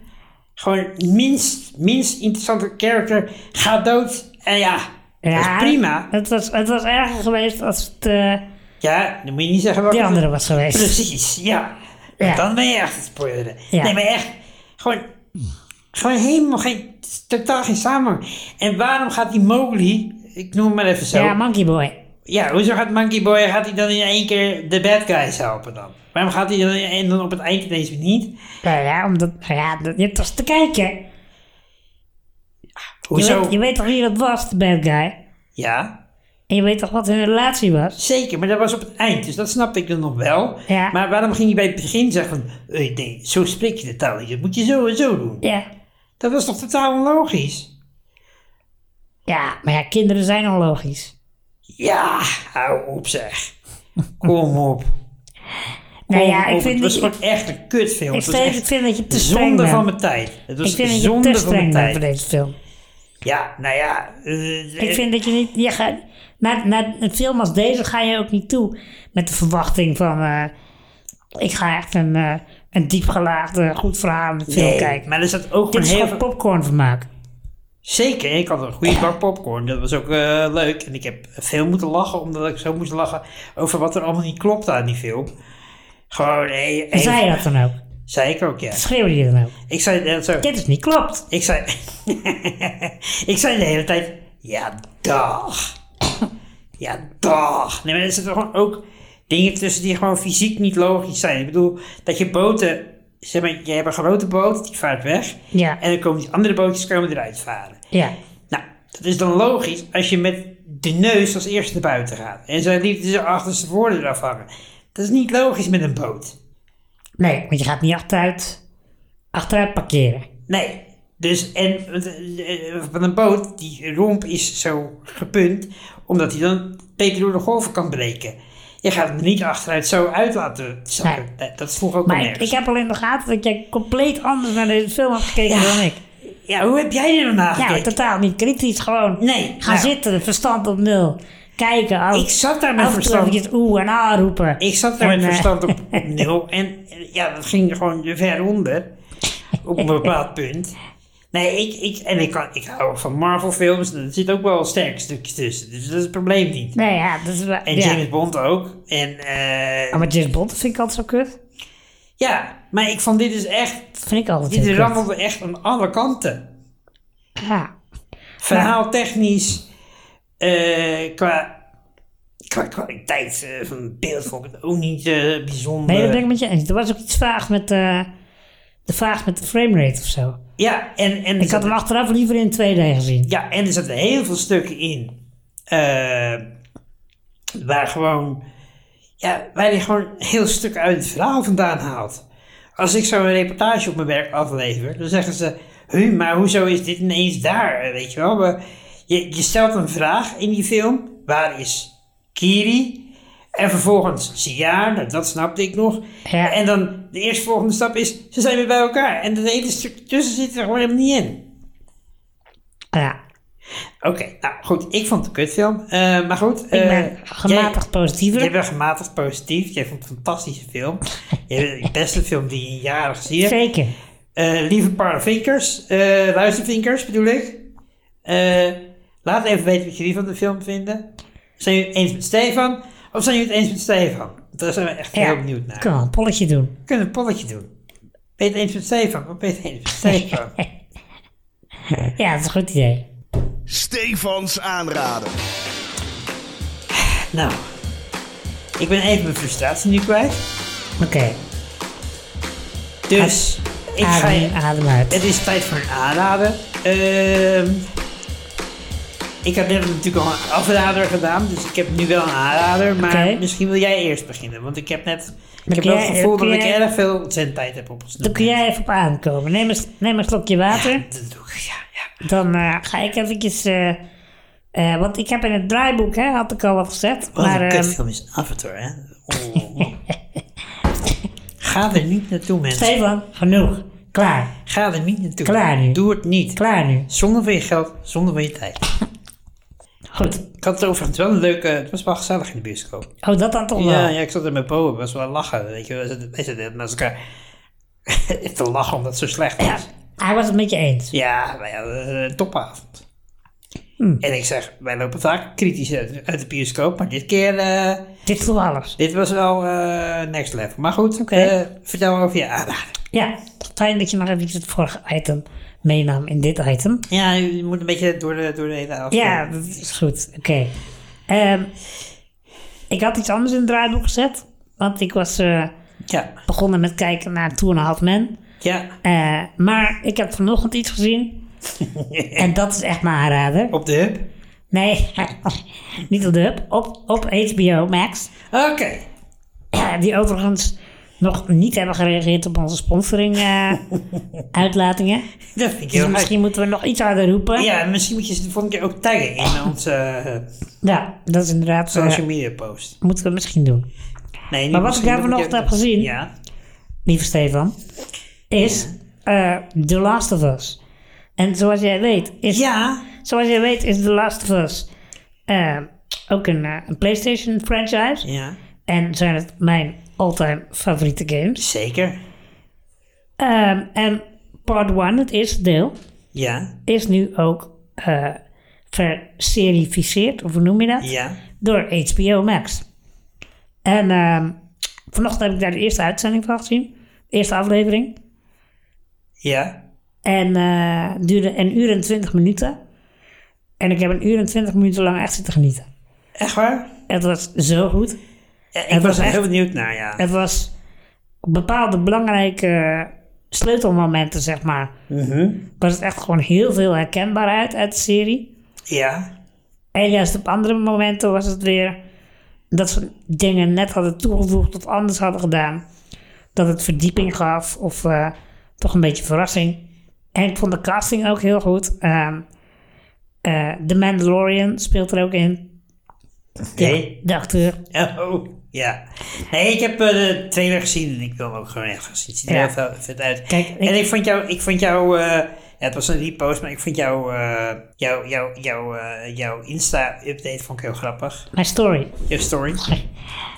[SPEAKER 2] Gewoon het minst, minst interessante character gaat dood. En ja, dat is prima.
[SPEAKER 1] Het was, het was erger geweest als het eh,
[SPEAKER 2] Ja, dan moet je niet zeggen wat
[SPEAKER 1] die andere was geweest.
[SPEAKER 2] Precies, ja.
[SPEAKER 1] Ja.
[SPEAKER 2] Dan ben je echt het spoileren.
[SPEAKER 1] Ja.
[SPEAKER 2] Nee, maar echt, gewoon, gewoon helemaal geen, totaal geen samenhang. En waarom gaat die Mowgli, ik noem hem maar even zo.
[SPEAKER 1] Ja, Monkey Boy.
[SPEAKER 2] Ja, hoezo gaat Monkey Boy, gaat hij dan in één keer de bad guys helpen dan? Waarom gaat hij dan, en dan op het eind ineens weer niet?
[SPEAKER 1] Nou ja, omdat, nou ja, dat- je hebt toch eens te kijken. Je
[SPEAKER 2] Hoezo?
[SPEAKER 1] weet, je weet toch wie dat was, de bad guy?
[SPEAKER 2] Ja,
[SPEAKER 1] En je weet toch wat hun relatie was?
[SPEAKER 2] zeker, maar dat was op het eind, dus dat snapte ik dan nog wel.
[SPEAKER 1] Ja.
[SPEAKER 2] Maar waarom ging hij bij het begin zeggen van, eh, nee, zo spreek je de taal niet, dat moet je zo en zo doen.
[SPEAKER 1] Ja.
[SPEAKER 2] Dat was toch totaal onlogisch?
[SPEAKER 1] Ja, maar ja, kinderen zijn onlogisch.
[SPEAKER 2] Ja, hou op
[SPEAKER 1] [LAUGHS]
[SPEAKER 2] zeg. Kom op.
[SPEAKER 1] Nou
[SPEAKER 2] Kom
[SPEAKER 1] ja,
[SPEAKER 2] op.
[SPEAKER 1] ik vind,
[SPEAKER 2] het was
[SPEAKER 1] dat je-
[SPEAKER 2] gewoon echt een kutfilm.
[SPEAKER 1] ik,
[SPEAKER 2] Het was
[SPEAKER 1] vind-
[SPEAKER 2] echt
[SPEAKER 1] ik vind dat je te streng
[SPEAKER 2] zonde
[SPEAKER 1] bent.
[SPEAKER 2] van mijn tijd. Het was
[SPEAKER 1] ik vind dat je
[SPEAKER 2] zonde
[SPEAKER 1] te
[SPEAKER 2] van mijn
[SPEAKER 1] streng bent voor
[SPEAKER 2] tijd.
[SPEAKER 1] deze film.
[SPEAKER 2] Ja, nou ja. eh,
[SPEAKER 1] Ik vind dat je niet. Je gaat, naar, naar een film als deze ga je ook niet toe met de verwachting van. eh, ik ga echt een, eh een diepgelaagde, goed verhalende film
[SPEAKER 2] Nee,
[SPEAKER 1] kijken.
[SPEAKER 2] Maar er zat
[SPEAKER 1] Dit
[SPEAKER 2] ook gewoon
[SPEAKER 1] is
[SPEAKER 2] heel
[SPEAKER 1] gewoon
[SPEAKER 2] veel...
[SPEAKER 1] popcorn vermaak.
[SPEAKER 2] Zeker, ik had een goede bak popcorn. Dat was ook eh, leuk. En ik heb veel moeten lachen, omdat ik zo moest lachen over wat er allemaal niet klopte aan die film. Gewoon, hé, hé,
[SPEAKER 1] En zei je dat dan ook?
[SPEAKER 2] Zei ik ook, ja.
[SPEAKER 1] Schreeuwde je dan ook?
[SPEAKER 2] Ik zei de hele tijd...
[SPEAKER 1] Dit is niet klopt.
[SPEAKER 2] Ik zei... [LAUGHS] ik zei de hele tijd... Ja, dag. ja, dag. Nee, maar er zitten gewoon ook dingen tussen die gewoon fysiek niet logisch zijn. Ik bedoel, dat je boten... Zeg maar, je hebt een grote boot, die vaart weg.
[SPEAKER 1] Ja.
[SPEAKER 2] En dan komen die andere bootjes komen eruit varen.
[SPEAKER 1] Ja.
[SPEAKER 2] Nou, dat is dan logisch als je met de neus als eerste naar buiten gaat. En zij lieten ze achterste voordeur eraf hangen. Dat is niet logisch met een boot.
[SPEAKER 1] Nee, want je gaat niet achteruit, achteruit parkeren.
[SPEAKER 2] Nee. Dus, en eh, eh, van een boot, die romp is zo gepunt, omdat hij dan beter door de golven kan breken. Je gaat hem niet achteruit zo uit laten zakken.
[SPEAKER 1] Nee.
[SPEAKER 2] Nee, Dat sloeg ook
[SPEAKER 1] Maar
[SPEAKER 2] al
[SPEAKER 1] ik,
[SPEAKER 2] nergens.
[SPEAKER 1] ik heb al in de gaten dat jij compleet anders naar deze film hebt gekeken dan ik.
[SPEAKER 2] Ja, hoe heb jij er dan naar
[SPEAKER 1] Ja,
[SPEAKER 2] gekeken?
[SPEAKER 1] totaal niet kritisch. Gewoon
[SPEAKER 2] Nee,
[SPEAKER 1] gaan
[SPEAKER 2] nou.
[SPEAKER 1] zitten, verstand op nul. Kijken, af,
[SPEAKER 2] Ik zat daar met
[SPEAKER 1] af en toe
[SPEAKER 2] verstand.
[SPEAKER 1] eventjes oeh en ah roepen.
[SPEAKER 2] Ik zat daar met
[SPEAKER 1] En, eh,
[SPEAKER 2] verstand
[SPEAKER 1] [LAUGHS]
[SPEAKER 2] op nul. En eh, ja, dat ging gewoon ver onder. Op een bepaald punt. Nee, ik, ik, en ik, kan, ik hou van Marvel films. en Er zit ook wel een sterk stukje tussen. Dus dat is het probleem niet.
[SPEAKER 1] Nee, ja, dat is wel...
[SPEAKER 2] En
[SPEAKER 1] ja.
[SPEAKER 2] James Bond ook. En eh,
[SPEAKER 1] Ah, maar James Bond vind ik altijd zo kut.
[SPEAKER 2] ja, maar ik vond dit is echt...
[SPEAKER 1] Dat vind ik altijd
[SPEAKER 2] Dit
[SPEAKER 1] heel kut.
[SPEAKER 2] rammelde echt aan alle kanten.
[SPEAKER 1] Ja.
[SPEAKER 2] Verhaaltechnisch. eh, qua, qua kwaliteit eh, van het beeld vond ik het ook niet eh, bijzonder.
[SPEAKER 1] Nee, dat ben ik met je eens. Er was ook iets vaag met, eh, de, vaag met de framerate of zo.
[SPEAKER 2] Ja, en, en
[SPEAKER 1] Ik had hem achteraf liever in 2D gezien.
[SPEAKER 2] Ja, en er zaten heel veel stukken in. eh, waar gewoon. Ja, waar hij gewoon een heel stuk uit het verhaal vandaan haalt. Als ik zo een reportage op mijn werk aflever, dan zeggen ze. Hu, maar hoezo is dit ineens daar? Eh, Weet je wel. Maar je, je stelt een vraag in die film. Waar is Kiri? En vervolgens Siaar, nou, dat snapte ik nog.
[SPEAKER 1] Ja.
[SPEAKER 2] En dan de eerstvolgende stap is, ze zijn weer bij elkaar. En dat hele stuk tussen zit er gewoon helemaal niet in.
[SPEAKER 1] Ja,
[SPEAKER 2] Oké, nou goed, ik vond het een kutfilm. Eh, maar goed.
[SPEAKER 1] ik
[SPEAKER 2] eh,
[SPEAKER 1] ben gematigd
[SPEAKER 2] jij-
[SPEAKER 1] positiever.
[SPEAKER 2] Jij bent gematigd positief. Jij vond het een fantastische
[SPEAKER 1] [LAUGHS]
[SPEAKER 2] film. Jij bent de beste film die je in jaren gezien hebt.
[SPEAKER 1] Zeker.
[SPEAKER 2] Eh, lieve parvinkers, eh luistervinkers bedoel ik. Eh, laat even weten wat jullie van de film vinden. Zijn jullie het eens met Stefan? Of zijn jullie het eens met Stefan? Want Daar zijn we echt heel benieuwd naar.
[SPEAKER 1] Kan wel een polletje doen.
[SPEAKER 2] We kunnen een polletje doen. Ben je het eens met Stefan? Of ben je het eens met
[SPEAKER 1] [LAUGHS]
[SPEAKER 2] Stefan?
[SPEAKER 1] Ja, dat is een goed idee.
[SPEAKER 4] Stefans aanraden.
[SPEAKER 2] nou, ik ben even mijn frustratie nu kwijt.
[SPEAKER 1] Oké,
[SPEAKER 2] Dus ik ga
[SPEAKER 1] adem,
[SPEAKER 2] je,
[SPEAKER 1] in, adem uit.
[SPEAKER 2] het is tijd voor een aanrader. Ehm, ik heb net natuurlijk al een afrader gedaan, dus ik heb nu wel een aanrader. Maar
[SPEAKER 1] Oké.
[SPEAKER 2] misschien wil jij eerst beginnen, want ik heb net ik heb
[SPEAKER 1] kun
[SPEAKER 2] wel het
[SPEAKER 1] jij-
[SPEAKER 2] gevoel dat
[SPEAKER 1] kun
[SPEAKER 2] ik
[SPEAKER 1] jij-
[SPEAKER 2] erg veel zendtijd heb opgesnoept.
[SPEAKER 1] Dan kun jij even op aankomen. Neem een, neem een slokje water.
[SPEAKER 2] Dat doe ik, ja, ja.
[SPEAKER 1] Dan eh, ga ik eventjes... eh, eh, want ik heb in het draaiboek, hè, had ik al wat gezet.
[SPEAKER 2] Wat
[SPEAKER 1] maar
[SPEAKER 2] een
[SPEAKER 1] ehm,
[SPEAKER 2] kutfilm is Avatar, hè?
[SPEAKER 1] [LAUGHS]
[SPEAKER 2] Oh. Ga er niet naartoe, mensen.
[SPEAKER 1] Stefan, genoeg. Klaar.
[SPEAKER 2] Ga er niet naartoe.
[SPEAKER 1] Klaar nu.
[SPEAKER 2] Doe het niet.
[SPEAKER 1] Klaar nu.
[SPEAKER 2] Zonder van je geld, zonder van je tijd.
[SPEAKER 1] Goed.
[SPEAKER 2] Ik had het overigens wel een leuke... Het was wel gezellig in de bioscoop.
[SPEAKER 1] Oh, dat dan toch
[SPEAKER 2] Ja,
[SPEAKER 1] wel?
[SPEAKER 2] ja, ik zat er met Bo, het was wel lachen, weet je. wel. We zaten- Wij zitten naast elkaar [LAUGHS] te lachen omdat het zo slecht was. Ja,
[SPEAKER 1] Hij was het met je eens.
[SPEAKER 2] wij hadden een eh, topavond. En ik zeg, wij lopen vaak kritisch uit, uit de bioscoop, maar dit keer, eh,
[SPEAKER 1] Dit is toch alles.
[SPEAKER 2] dit was wel eh, next level. Maar goed,
[SPEAKER 1] Oké.
[SPEAKER 2] eh, vertel over je aanrader.
[SPEAKER 1] Ja, fijn dat je nog eventjes het vorige item meenam in dit item.
[SPEAKER 2] Ja, je moet een beetje door de, door de hele aflevering.
[SPEAKER 1] Ja, dat is goed. Oké. Ehm, ik had iets anders in het draaiboek gezet. Want ik was eh,
[SPEAKER 2] Ja,
[SPEAKER 1] begonnen met kijken naar Two and a Half Men.
[SPEAKER 2] ja.
[SPEAKER 1] Eh, maar ik heb vanochtend iets gezien. en dat is echt mijn aanrader.
[SPEAKER 2] Op de hub.
[SPEAKER 1] Nee, [LAUGHS] niet op de hub. Op, op HBO Max. Eh,
[SPEAKER 2] Oké.
[SPEAKER 1] Die overigens nog niet hebben gereageerd op onze sponsoring eh, uitlatingen.
[SPEAKER 2] Dat vind ik
[SPEAKER 1] Dus
[SPEAKER 2] heel leuk.
[SPEAKER 1] misschien moeten we nog iets harder roepen.
[SPEAKER 2] Ja, misschien moet je ze de volgende keer ook taggen in onze eh,
[SPEAKER 1] Ja, dat is inderdaad... eh,
[SPEAKER 2] social media post.
[SPEAKER 1] moeten we misschien doen.
[SPEAKER 2] Nee, niet
[SPEAKER 1] Maar wat ik
[SPEAKER 2] misschien,
[SPEAKER 1] daar
[SPEAKER 2] dat moet je-
[SPEAKER 1] vanochtend heb gezien-
[SPEAKER 2] Ja.
[SPEAKER 1] lieve Stefan, is eh, The Last of Us. En zoals jij weet, is,
[SPEAKER 2] Ja,
[SPEAKER 1] zoals jij weet, is The Last of Us eh, ook een, eh, een PlayStation franchise.
[SPEAKER 2] Ja,
[SPEAKER 1] En zijn het mijn all-time favoriete games.
[SPEAKER 2] zeker.
[SPEAKER 1] Ehm, en part 1, het eerste deel,
[SPEAKER 2] Ja,
[SPEAKER 1] is nu ook eh verserificeerd, of hoe noem je dat?
[SPEAKER 2] ja.
[SPEAKER 1] Door HBO Max. En ehm, vanochtend heb ik daar de eerste uitzending van gezien. de eerste aflevering.
[SPEAKER 2] Ja.
[SPEAKER 1] En eh duurde een uur en twintig minuten. En ik heb een uur en twintig minuten lang echt zitten genieten.
[SPEAKER 2] Echt waar?
[SPEAKER 1] Het was zo goed.
[SPEAKER 2] Ja, ik
[SPEAKER 1] Het
[SPEAKER 2] was
[SPEAKER 1] was
[SPEAKER 2] er
[SPEAKER 1] echt-
[SPEAKER 2] heel benieuwd naar, ja.
[SPEAKER 1] Het was bepaalde belangrijke sleutelmomenten, zeg maar. Was het echt gewoon heel veel herkenbaarheid uit de serie.
[SPEAKER 2] Ja.
[SPEAKER 1] En juist op andere momenten was het weer dat ze dingen net hadden toegevoegd of anders hadden gedaan. Dat het verdieping gaf of eh, toch een beetje verrassing. En ik vond de casting ook heel goed. Ehm, eh, The Mandalorian speelt er ook in.
[SPEAKER 2] Nee.
[SPEAKER 1] De acteur.
[SPEAKER 2] Oh, ja. Nee, ik heb eh, de trailer gezien en ik wil hem ook gewoon echt gaan zien. Het ziet er
[SPEAKER 1] Ja.
[SPEAKER 2] heel vet- vet uit.
[SPEAKER 1] Kijk, ik-
[SPEAKER 2] en ik vond jou, ik vond jou eh, ja, het was een repost, maar ik vond jouw eh, jou, jou, jou, eh, jouw Insta-update vond ik heel grappig.
[SPEAKER 1] My Story.
[SPEAKER 2] Jouw story.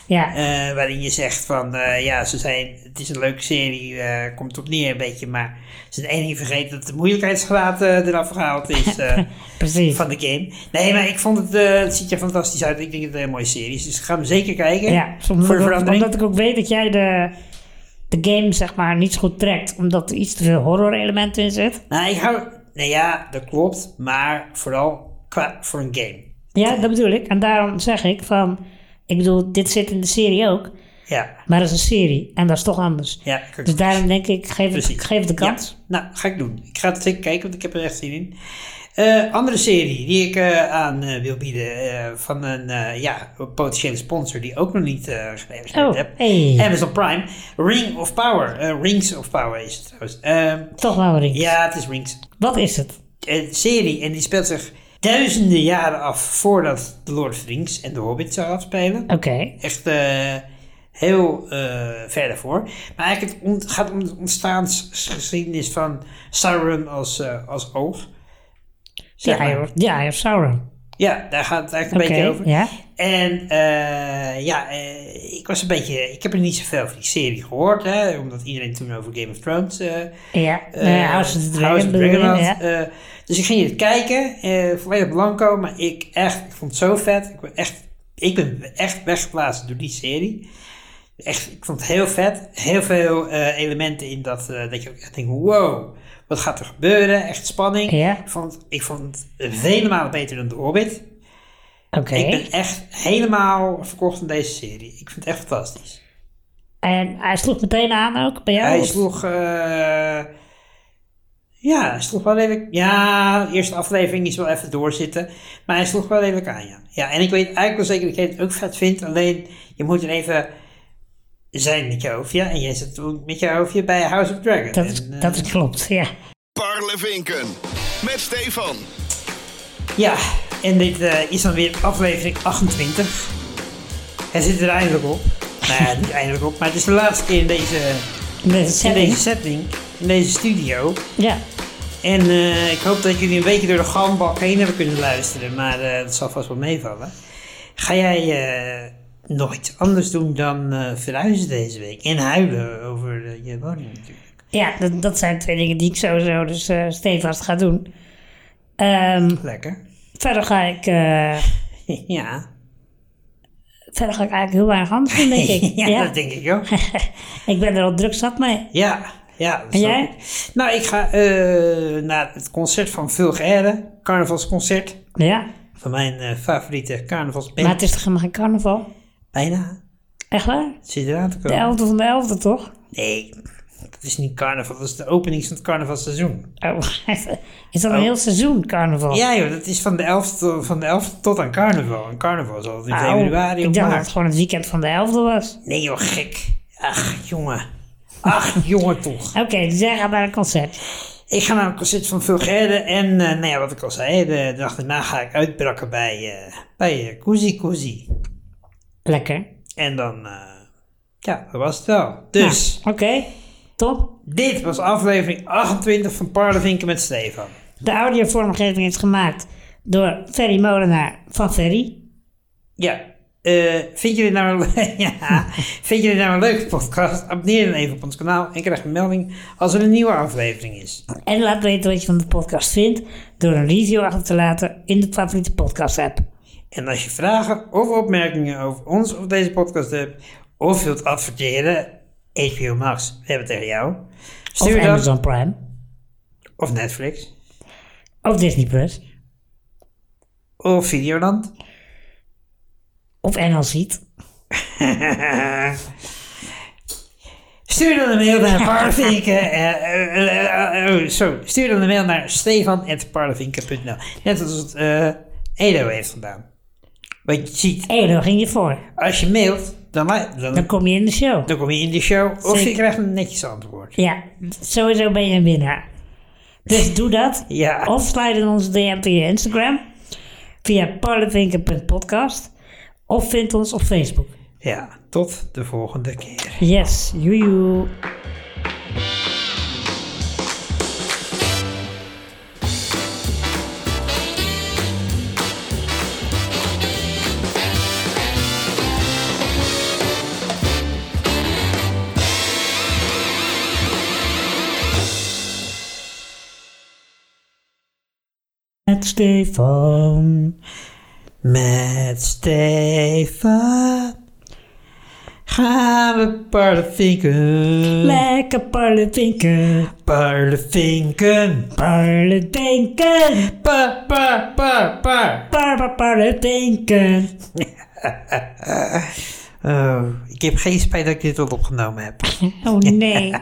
[SPEAKER 1] Ja,
[SPEAKER 2] Eh, waarin je zegt van, eh, ja, ze zijn, het is een leuke serie, eh, komt op neer een beetje, maar ze zijn één ding vergeten dat de moeilijkheidsgraad eh, eraf gehaald
[SPEAKER 1] [LAUGHS]
[SPEAKER 2] is eh,
[SPEAKER 1] precies.
[SPEAKER 2] van de game. Nee, maar ik vond het, eh, het ziet er fantastisch uit. Ik denk dat het een hele mooie serie is, dus ik ga hem zeker kijken.
[SPEAKER 1] Ja, soms
[SPEAKER 2] voor de
[SPEAKER 1] omdat,
[SPEAKER 2] verandering.
[SPEAKER 1] omdat ik ook weet dat jij de, de game zeg maar niet zo goed trekt. Omdat er iets te veel horror elementen in zit.
[SPEAKER 2] Nou, ik hou, nou ja, dat klopt, maar vooral qua, voor een game.
[SPEAKER 1] Ja, dat bedoel ik. En daarom zeg ik van... Ik bedoel, dit zit in de serie ook.
[SPEAKER 2] Ja,
[SPEAKER 1] Maar dat is een serie. En dat is toch anders.
[SPEAKER 2] ja. ik-
[SPEAKER 1] Dus daarom denk ik, geef het,
[SPEAKER 2] Precies.
[SPEAKER 1] geef het de kans.
[SPEAKER 2] Ja, nou, ga ik doen. Ik ga het zeker kijken, want ik heb er echt zin in. Eh, andere serie die ik eh, aan eh, wil bieden eh, van een eh, ja, potentiële sponsor die ook nog niet eh gereageerd
[SPEAKER 1] Oh,
[SPEAKER 2] heb.
[SPEAKER 1] hey.
[SPEAKER 2] Amazon Prime. Ring of Power. Eh, Rings of Power is het trouwens. Ehm,
[SPEAKER 1] Toch wel, Rien.
[SPEAKER 2] ja, het is Rings.
[SPEAKER 1] Wat is het?
[SPEAKER 2] Een serie en die speelt zich duizenden jaren af voordat The Lord of the Rings en The Hobbit zou afspelen.
[SPEAKER 1] Oké.
[SPEAKER 2] Echt eh, heel eh, ver daarvoor. Maar eigenlijk het ont- gaat om de ontstaansgeschiedenis van Sauron als, eh, als oog.
[SPEAKER 1] Ja,
[SPEAKER 2] Zeg maar.
[SPEAKER 1] joh. ja, joh, Sauron.
[SPEAKER 2] ja, daar gaat het
[SPEAKER 1] Oké,
[SPEAKER 2] eigenlijk een beetje over.
[SPEAKER 1] ja.
[SPEAKER 2] En eh, ja, eh, ik was een beetje... Ik heb er niet zoveel van die serie gehoord. Hè, omdat iedereen toen over Game of Thrones... eh
[SPEAKER 1] Ja,
[SPEAKER 2] eh,
[SPEAKER 1] uh, House of the Dragon.
[SPEAKER 2] House of the
[SPEAKER 1] bedoel je,
[SPEAKER 2] Dragon had.
[SPEAKER 1] ja.
[SPEAKER 2] Eh, dus ik ging het kijken. eh volledig blanco. Maar ik echt... Ik vond het zo vet. Ik ben echt, ik ben echt weggeplaatst door die serie. Echt, ik vond het heel vet. Heel veel eh, elementen in dat, eh, dat je ook echt denkt, wow, wat gaat er gebeuren? Echt spanning.
[SPEAKER 1] Ja.
[SPEAKER 2] Ik vond, ik vond het vele malen beter dan The Hobbit.
[SPEAKER 1] Oké.
[SPEAKER 2] Ik ben echt helemaal verkocht aan deze serie. Ik vind het echt fantastisch.
[SPEAKER 1] En hij sloeg meteen aan ook bij jou?
[SPEAKER 2] hij
[SPEAKER 1] of-
[SPEAKER 2] sloeg... eh, ja, hij sloeg wel redelijk... Ja, de eerste aflevering is wel even doorzitten. Maar hij sloeg wel redelijk aan, ja. Ja, en ik weet eigenlijk wel zeker dat jij het ook vet vindt. Alleen, je moet er even zijn met je hoofdje. En jij zit ook met je hoofdje bij House of Dragon.
[SPEAKER 1] Dat, is-
[SPEAKER 2] En, eh,
[SPEAKER 1] dat is klopt, ja.
[SPEAKER 4] Parlevinken. Met Stefan.
[SPEAKER 2] eh, Ja, en dit eh, is dan weer aflevering 28. Hij zit er eindelijk op. Nou ja, niet eindelijk op, maar het is de laatste keer in deze,
[SPEAKER 1] Met
[SPEAKER 2] in
[SPEAKER 1] setting.
[SPEAKER 2] deze setting, in deze studio.
[SPEAKER 1] Ja,
[SPEAKER 2] En eh, ik hoop dat jullie een beetje door de galmbak heen hebben kunnen luisteren, maar eh, dat zal vast wel meevallen. Ga jij eh, nog iets anders doen dan eh, verhuizen deze week? En huilen over eh, je woning natuurlijk.
[SPEAKER 1] ja dat, dat zijn twee dingen die ik sowieso dus eh stevast ga doen. Ehm,
[SPEAKER 2] Lekker.
[SPEAKER 1] verder, ga ik, eh,
[SPEAKER 2] [LAUGHS] ja.
[SPEAKER 1] verder ga ik eigenlijk heel weinig anders doen, denk ik.
[SPEAKER 2] [LAUGHS] ja,
[SPEAKER 1] ja,
[SPEAKER 2] dat denk ik ook.
[SPEAKER 1] [LAUGHS] ik ben er al druk zat mee.
[SPEAKER 2] Ja, ja. dat
[SPEAKER 1] En
[SPEAKER 2] snap
[SPEAKER 1] jij?
[SPEAKER 2] ik. Nou, ik ga eh, naar het concert van Vulgaire, carnavalsconcert.
[SPEAKER 1] Ja,
[SPEAKER 2] Van mijn eh, favoriete carnavalsband.
[SPEAKER 1] maar het is toch helemaal geen carnaval?
[SPEAKER 2] Bijna.
[SPEAKER 1] Echt waar?
[SPEAKER 2] Het zit eraan te
[SPEAKER 1] De
[SPEAKER 2] komen.
[SPEAKER 1] 11e van de 11e, toch?
[SPEAKER 2] Nee, dat is niet carnaval. Dat is de opening van het carnavalseizoen.
[SPEAKER 1] Oh, [LAUGHS] is dat een
[SPEAKER 2] Oh.
[SPEAKER 1] heel seizoen carnaval?
[SPEAKER 2] Ja joh, dat is van de 11 tot, van de 11 tot aan carnaval. En carnaval is altijd in
[SPEAKER 1] Au,
[SPEAKER 2] februari
[SPEAKER 1] ik
[SPEAKER 2] of
[SPEAKER 1] dacht dat het
[SPEAKER 2] maart.
[SPEAKER 1] gewoon het weekend van de 11e was.
[SPEAKER 2] Nee joh, gek. Ach, jongen. Ach, [LAUGHS] jongen toch.
[SPEAKER 1] Oké, dus jij gaat naar een concert.
[SPEAKER 2] Ik ga naar een concert van Vulgaire en eh, nou ja, wat ik al zei, de dag daarna ga ik uitbrakken bij, eh bij eh Koezie Koezie.
[SPEAKER 1] Lekker.
[SPEAKER 2] En dan, eh, ja, dat was het wel. Dus,
[SPEAKER 1] Nou, Oké, top.
[SPEAKER 2] dit was aflevering 28 van Parlevinken met Stefan.
[SPEAKER 1] De audiovormgeving is gemaakt door Ferry Molenaar van Ferry.
[SPEAKER 2] Ja. eh vind, jullie nou een, [LAUGHS] ja, vind jullie nou een leuke podcast? Abonneer dan even op ons kanaal en krijg een melding als er een nieuwe aflevering is.
[SPEAKER 1] En laat weten wat je van de podcast vindt door een review achter te laten in de favoriete podcast app.
[SPEAKER 2] En als je vragen of opmerkingen over ons of deze podcast hebt, of wilt adverteren, HBO Max, we hebben het tegen jou.
[SPEAKER 1] Of
[SPEAKER 2] dan-
[SPEAKER 1] Amazon Prime.
[SPEAKER 2] Of Netflix.
[SPEAKER 1] Of Disney Plus.
[SPEAKER 2] Of Videoland.
[SPEAKER 1] Of NL Ziet.
[SPEAKER 2] Stuur dan een mail
[SPEAKER 1] [LAUGHS]
[SPEAKER 2] naar parlevinken. eh, eh, eh, eh, oh, Sorry, stuur dan een mail naar stefan.parlevinken.nl. Net als het eh, Edo heeft gedaan. Want je ziet,
[SPEAKER 1] Hé, daar ging je voor.
[SPEAKER 2] als je mailt, dan, li-
[SPEAKER 1] Dan
[SPEAKER 2] dan,
[SPEAKER 1] kom je in de show.
[SPEAKER 2] dan kom je in de show of je
[SPEAKER 1] Zeker.
[SPEAKER 2] krijgt een netjes antwoord.
[SPEAKER 1] Ja, sowieso ben je een winnaar. Dus doe dat.
[SPEAKER 2] Ja.
[SPEAKER 1] Of sluit in onze DM via Instagram. Via parlevinken.podcast. Of vind ons op Facebook.
[SPEAKER 2] Ja, tot de volgende keer.
[SPEAKER 1] Yes, joejoe. Met Stefan.
[SPEAKER 2] Met Stefan gaan we parlevinken.
[SPEAKER 1] Lekker parlevinken.
[SPEAKER 2] Parlevinken.
[SPEAKER 1] Parlevinken.
[SPEAKER 2] Pa, pa, pa, pa.
[SPEAKER 1] Parpa parlevinken.
[SPEAKER 2] Oh, ik heb geen spijt dat ik dit al opgenomen heb.
[SPEAKER 1] Oh nee.